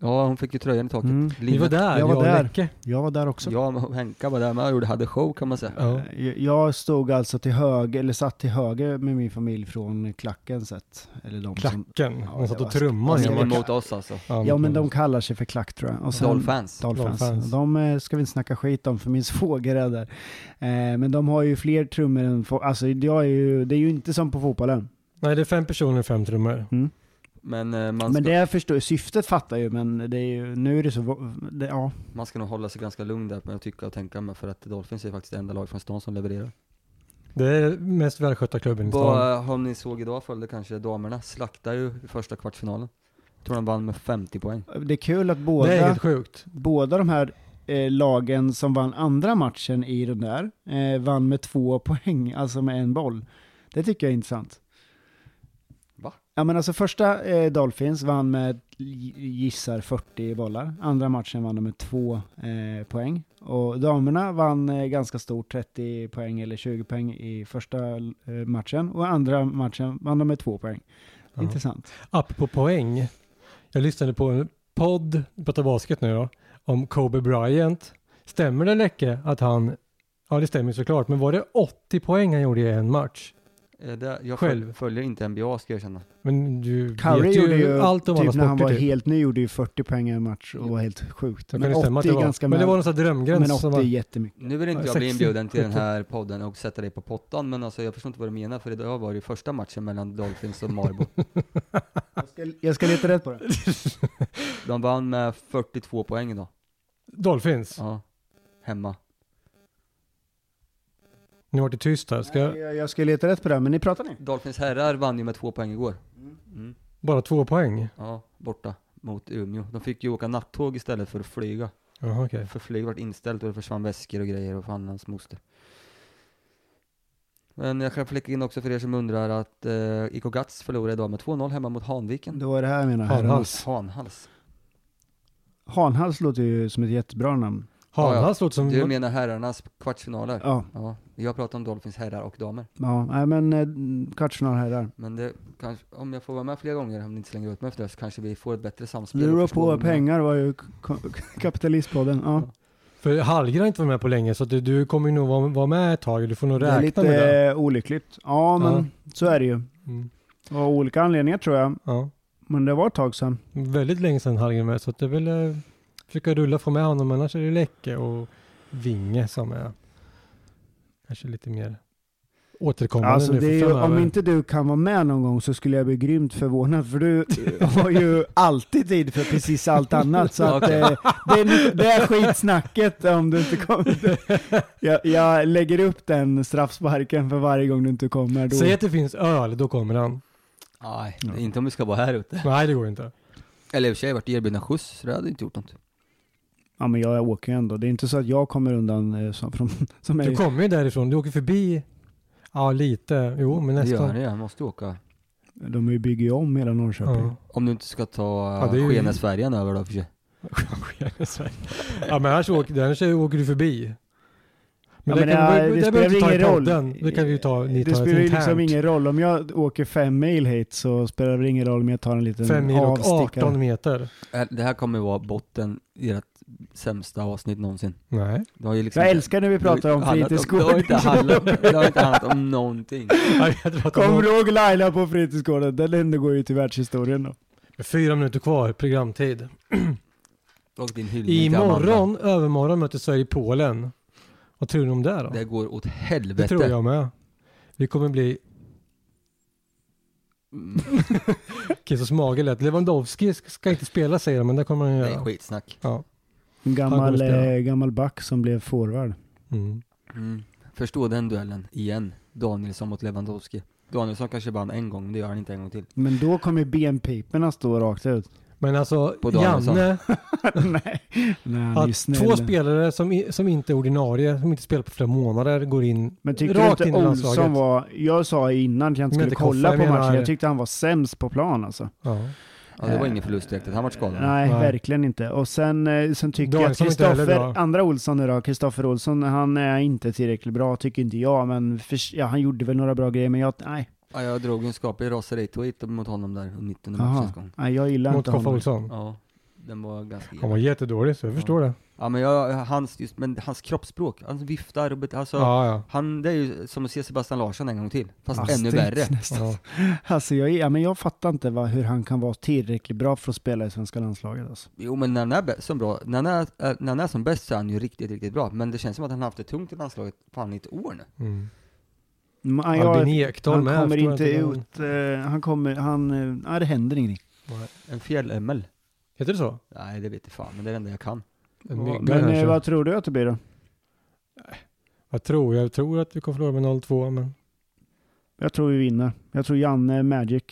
C: ja, hon fick ju tröjan i taket.
A: Mm.
B: Vi var där,
A: Jag
B: jag
A: var
B: och
A: där.
B: Läcke.
A: Jag var där också.
C: Ja, men Henka var där med och gjorde- hade show kan man säga.
B: Ja.
A: Eh, Jag stod alltså till höger, eller satt till höger med min familj från klacken sett. Eller de som,
B: Klacken,
A: Ja,
B: han satt
A: det
B: och
A: var-
B: trummade.
A: Ja,
C: Som
A: men-
C: emot oss alltså.
B: Ja,
A: Ja men de kallar sig för klack tror jag. Och sen-
C: Dolphins.
A: Dolphins.
B: Dolphins.
A: De eh, ska vi inte snacka skit om för min svåger är där. Eh, men de har ju fler trummor än fo- Alltså jag är ju, det är ju inte som på fotbollen.
B: Nej, det är fem personer och fem trummor.
C: Men, eh, man, ska,
A: Men det förstår syftet fattar jag ju men det är ju, nu är det så, vo- det, ja.
C: man ska nog hålla sig ganska lugn där, men jag tycker och tänka mig för att Dolphins är faktiskt det enda lag från stan som levererar.
B: Det är den mest välskötta klubben i stan.
C: Vad har ni såg idag följde kanske damerna slaktade ju i första kvartsfinalen. Jag tror de vann med 50 poäng.
A: Det är kul att
B: Det är
A: båda,
B: helt sjukt.
A: båda de här eh, lagen som vann andra matchen i den där, eh, vann med två poäng, alltså med en boll. Det tycker jag är intressant.
C: Va?
A: Ja men alltså första eh, Dolphins vann med, gi- gissar 40 bollar. Andra matchen vann de med två eh, poäng. Och damerna vann eh, ganska stort, 30 poäng eller 20 poäng i första eh, matchen. Och andra matchen vann de med två poäng.
B: Ja.
A: Intressant.
B: Apropå poäng. Jag lyssnade på en podd, vi pratar basket nu då, om Kobe Bryant. Stämmer det Läcke att han, ja det stämmer såklart, men var det 80 poäng han gjorde i en match?
C: Eh, Det, jag
B: Själv.
C: Själv. följer inte NBA ska jag erkänna.
B: Men du
A: Curry
B: vet
A: gjorde ju
B: ju allt om alla
A: typ när han
B: sporter.
A: var
B: typ.
A: helt ny gjorde ju 40 poäng i en match och var helt sjukt.
B: Så kan
A: Men
B: det stämma
A: 80
B: att
A: är
B: det var.
A: ganska
B: Men det var
A: men
B: någon sån här
A: men
B: drömgräns.
A: 80
B: som
A: är
B: var,
A: jättemycket.
C: Nu vill inte
B: Ja,
C: jag bli
B: 60,
C: inbjuden till den
B: 70.
C: här podden och sätta dig på pottan, men alltså jag förstår inte vad du menar, för idag var det ju första matchen mellan Dolphins och Marbo.
A: Jag ska, jag ska leta rätt på det.
C: De vann med 42 poäng idag.
B: Dolphins.
C: Ja. Hemma.
B: Nu vart det tyst här. Ska jag,
A: Jag, jag ska leta rätt på det, men ni pratar ni?
C: Dolphins herrar vann ju med två poäng igår. Mm.
B: bara två poäng?
C: Ja, borta mot Umeå. De fick ju åka nattåg istället för att flyga.
B: Jaha okej.
C: För flyg vart inställt och det försvann väskor och grejer och fan hans moster. Men jag kan flika in också för er som undrar att eh, IK Gats förlorade idag med 2-0 hemma mot Hanviken.
A: Det var det här jag menar.
B: Hanhals.
C: Hanhals.
A: Hanhals låter ju som ett jättebra namn.
B: Hanhals låter som...
C: Du menar herrarnas kvartsfinaler? Ja.
A: Ja,
C: Jag pratar om Dolphins herrar och damer.
A: ja nej, men eh, kvartsfinal här där.
C: Men det kanske, om jag får vara med fler gånger, om ni inte slänger ut mig efter det, så kanske vi får ett bättre samspel.
A: Det
C: och
A: rör
C: förstår
A: på
C: varandra.
A: pengar var ju k- kapitalistpodden. Ja.
B: För Hallgren har inte varit med på länge så att du, du kommer ju nog vara, vara med ett tag. Du får nog
A: Det är lite
B: räkna med det.
A: eh, olyckligt. Ja, men
B: Ja.
A: så är det ju.
B: Mm.
A: Av olika anledningar tror jag.
B: Ja.
A: Men det var ett tag sedan.
B: Väldigt länge sedan Hallgren var med så att jag vill eh, försöka rulla få med honom annars är det Läcke och Vinge som är kanske lite mer återkommande
A: Alltså,
B: nu
A: det är
B: för
A: ju,
B: framöver.
A: om inte du kan vara med någon gång så skulle jag bli grymt förvånad för du har ju alltid tid för precis allt annat. Så att,
C: Okej.
A: eh, det, är, det är skitsnacket om du inte kommer. Jag, jag lägger upp den straffsparken för varje gång du inte kommer. Då.
B: Säg att det finns öl, då kommer han.
C: Nej, det är inte om vi ska vara här ute.
B: Nej, det går inte.
C: Eller i och för sig, jag vart erbjuden skjuts, så det hade inte gjort något.
A: Ja men jag åker ju ändå. Det är inte så att jag kommer undan eh, som, från, som
B: Du
A: är...
B: kommer ju därifrån. Du åker förbi. Ja, lite. Jo, men
C: Det gör
B: nästan.
C: ni, jag måste åka.
A: De är ju bygger ju om hela Norrköping.
B: Ja.
C: Om du inte ska ta
B: Ja, det är ju-
C: Skenesfärjan över då för sig.
B: ja, men annars åker, annars åker du förbi.
A: Ja,
B: Men, det, kan, det, det behöver vi inte ta i podden. Det kan vi ju ta, ni
A: Det
B: tar
A: spelar ju liksom
B: internt.
A: ingen roll. Om jag åker fem mil hit så spelar det ingen roll om jag tar en liten
B: Fem mil och
A: avstickare.
B: 18 meter.
C: Äh, Det här kommer ju vara botten i ert sämsta avsnitt någonsin.
B: Nej.
C: Det har ju liksom
A: Jag älskar när vi pratar om
C: Det har ju handlat Det har
A: fritidsgården.
C: inte handlat, det har inte handlat om någonting.
B: Jag tror att de
A: Kommer
B: har-
A: du ihåg Laila på fritidsgården? Den undergår ju till världshistorien då.
B: Fyra minuter kvar, programtid.
C: Och din hyllning till Amanda.
B: Imorgon, övermorgon möter Sverige Polen. Vad tror ni om det då?
C: Det går åt
B: det
C: helvete.
B: tror jag med. Vi kommer bli...
C: Mm,
B: Kissos mage lät. Lewandowski ska inte spela säger de, men det kommer han
C: Det
B: göra.
C: är skitsnack.
B: Ja.
A: En
B: Han kommer
A: gammal,
B: spela.
A: eh, gammal back som blev forward.
B: Mm.
C: Mm. Förstå den duellen igen. Danielsson mot Lewandowski. Danielsson kanske vann en gång, men det gör han inte en gång till.
A: Men då kommer benpiporna stå rakt ut.
B: Men alltså,
C: På Danielsson.
B: Janne,
A: Nej, Nej han är ju
B: att
A: snäll.
B: två spelare som, i- som inte är ordinarie, som inte spelar på flera månader, går in
A: Men tycker
B: rakt
A: du
B: in
A: inte
B: i
A: Olsson
B: landslaget.
A: var... Jag sa ju innan att jag inte
B: Men
A: skulle
B: inte
A: kolla
B: Koffe,
A: på
B: jag menar-
A: matchen. Jag tyckte han var sämst på plan alltså.
B: Ja.
C: Ja, det var
A: Eh,
C: ingen förlust direkt, han vart skadad.
A: Nej,
B: Nej.
A: verkligen inte. Och sen, eh, sen tycker jag att
B: Danielsson är inte heller
A: Kristoffer,
B: bra.
A: andra Olsson nu då, Kristoffer Olsson, han är inte tillräckligt bra tycker inte jag. Men för, ja, han gjorde väl några bra grejer, men jag, nej.
C: Ja, jag drog en skaplig raseri-tweet mot honom där, 19
A: Aha.
C: matchens gång.
A: nej jag gillar
B: Mot
A: inte
B: Koffe
A: honom.
B: Olsson.
C: Ja, den var ganska
B: Han var jättedålig, så jag
C: Ja.
B: förstår det.
C: Ja men jag, hans, just, men hans kroppsspråk, han viftar och bet- alltså,
B: Ja, ja.
C: han, det är ju som att se Sebastian Larsson en gång till, fast
A: Ja,
C: ännu
A: strikt
C: värre.
A: nästan.
B: ja.
A: Alltså jag, ja, men jag fattar inte vad, hur han kan vara tillräckligt bra för att spela i svenska landslaget. Alltså.
C: Jo men när han är bä- som bra, när han är, äh, när han är som bäst så är han ju riktigt, riktigt bra, men det känns som att han har haft det tungt i landslaget, fan i ett år nu.
B: Mm.
A: Men, ja, Mm, jag,
B: Albin Ekdal
A: han
B: med.
A: kommer
B: förstår
A: inte
B: jag vad han-
A: ut, eh, han kommer, han, eh, nej det händer ingenting.
C: En fjällämmel?
B: Heter det så?
C: Nej det vet jag fan, men det är det enda jag kan.
B: En mygga
A: men eh,
B: kanske.
A: vad tror du att det blir då?
B: Jag tror, jag tror att vi kommer förlora med 0-2, men
A: Jag tror vi vinner. Jag tror Janne Magic.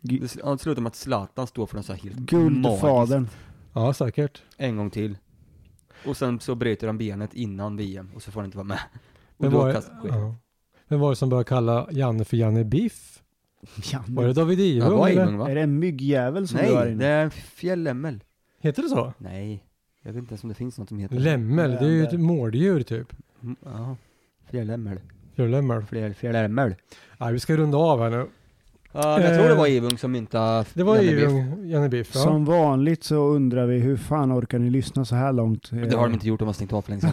C: Det sl- ja, det slutar med att Zlatan står för något så här helt magiskt,
A: Guldfadern.
B: ja, säkert.
C: en gång till. Och sen så bryter han benet innan VM, och så får han inte vara med. Och
B: Vem
C: då
B: var,
C: kastas skiten.
B: ja. Vem var det som började kalla Janne för Janne Biff? Var
A: Janne.
B: det David
C: Mm. Ja,
B: Ivung?
C: var
B: eller?
C: Ivung va?
A: Är det en myggjävel som du har
C: Nej,
A: inne?
C: det är en fjällämmel.
B: Heter det så?
C: Nej, jag vet inte ens om det finns något som heter
B: Lämmel, det är ju ett
A: Lämmel.
B: mårddjur typ.
C: Mm, Ja, fjällämmel.
B: Fjärlämmel.
C: Fjäll, fjällämmel.
B: Nej, vi ska runda av här nu.
C: Ja, men jag tror det
B: Eh,
C: var Ivung som myntade
B: Det var
C: Jenny
B: ju
C: Biff.
B: Janne Biff. Ja.
A: Som vanligt så undrar vi hur fan orkar ni lyssna så här långt?
C: Men Det har de inte gjort, de har stängt av för länge sedan.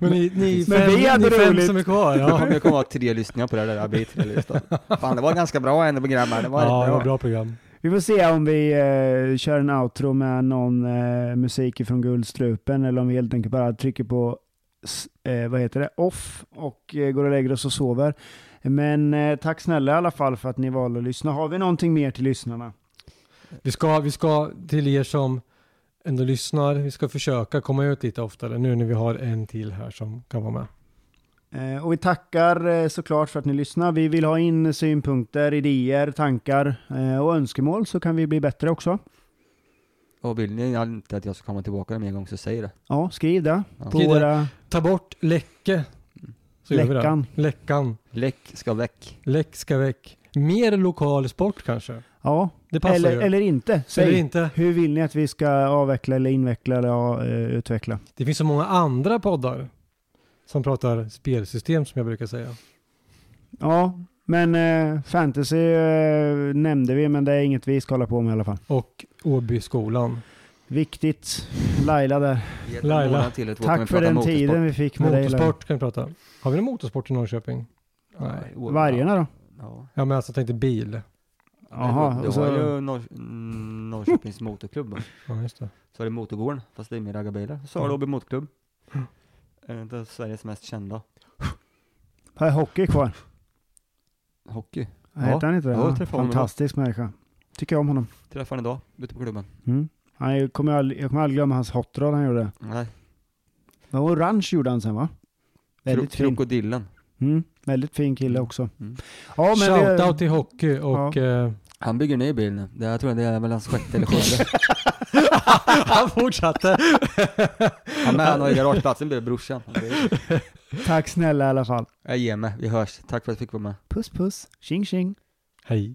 B: Men ni, ni
A: Men
B: fem,
A: vi hade
B: ni fem
A: roligt.
B: som är kvar.
C: Ja.
B: Ja,
C: Jag kommer ha tre lyssningar på det där, det blir tre lyssningar. Fan det var ganska bra ändå program här, det var
B: ja det var
C: rätt bra.
B: ett bra program.
A: Vi får se om vi eh, kör en outro med någon eh, musik från Guldstrupen eller om vi helt enkelt bara trycker på s- eh, vad heter det? off och eh, går och lägger oss och sover. Men eh, tack snälla i alla fall för att ni valde att lyssna. Har vi någonting mer till lyssnarna?
B: Vi ska, vi ska till er som ändå lyssnar, vi ska försöka komma ut lite oftare nu när vi har en till här som kan vara med.
A: Eh, och vi tackar eh, såklart för att ni lyssnar. Vi vill ha in synpunkter, idéer, tankar eh, och önskemål så kan vi bli bättre också.
C: Och vill ni inte att jag ska komma tillbaka med en gång så säg det.
A: Ja, skriv det
C: Ja.
A: på
B: Skriv det.
A: våra...
B: Ta bort läcke. Så gör vi det.
A: Läckan.
B: Läckan.
C: Läck ska väck.
B: Läck ska väck. Mer lokal sport kanske.
A: Ja,
B: Det passar
A: eller,
B: ju.
A: eller inte. Säg.
B: Eller inte.
A: Hur vill ni att vi ska avveckla eller inveckla eller ja, eh, utveckla?
B: Det finns så många andra poddar som pratar spelsystem som jag brukar säga.
A: Ja, men eh, fantasy eh, nämnde vi, men det är inget vi ska hålla på med i alla fall.
B: Och Åbyskolan.
A: Viktigt. Laila där.
C: Ge ett
B: Laila,
C: månad till, eller två kommer
A: Tack
C: vi
A: för
C: prata
A: den
C: motorsport.
A: tiden vi fick med dig. Laila.
B: Motorsport kan vi prata. Har vi någon motorsport i Norrköping? Nej.
C: Ja,
A: Vargarna då?
C: Ja.
B: Ja men alltså jag tänkte bil.
A: Jaha, alltså,
C: Jaha. Det
A: och
C: var
A: så-
C: ju Norr- mm, Norrköpings motorklubb.
B: Ja just det.
C: Så är det Motorgården, fast det är mer raggarbilar. Så har du Åby motorklubb.
A: Mm.
C: En av Sveriges mest kända.
A: Har jag hockey kvar?
C: Hockey.
A: Ja.
C: Ja.
A: Heter han inte det?
C: Ja, jag träffade honom
A: Fantastisk människa. Tycker jag om honom.
C: Träffade han idag, ute på klubben.
A: Mm. Han, jag, kommer aldrig, jag kommer aldrig glömma hans hot rod han gjorde.
C: Nej.
A: Det var orange gjorde han sen va?
C: Kro-
A: Väldigt fin.
C: Krokodillen.
A: Mm. Väldigt fin kille också.
C: Mm.
A: Ja, men vi-
B: Shoutout till hockey och... eh,
C: Han bygger en ny bil nu. Det, jag tror det är väl hans sjätte eller sjunde.
B: han fortsatte.
C: Han, med, han har ju garageplatsen bredvid brorsan.
A: Tack snälla i alla fall.
C: Jag ger mig, vi hörs. Tack för att jag fick vara med.
A: Puss puss. Tjing tjing.
B: Hej.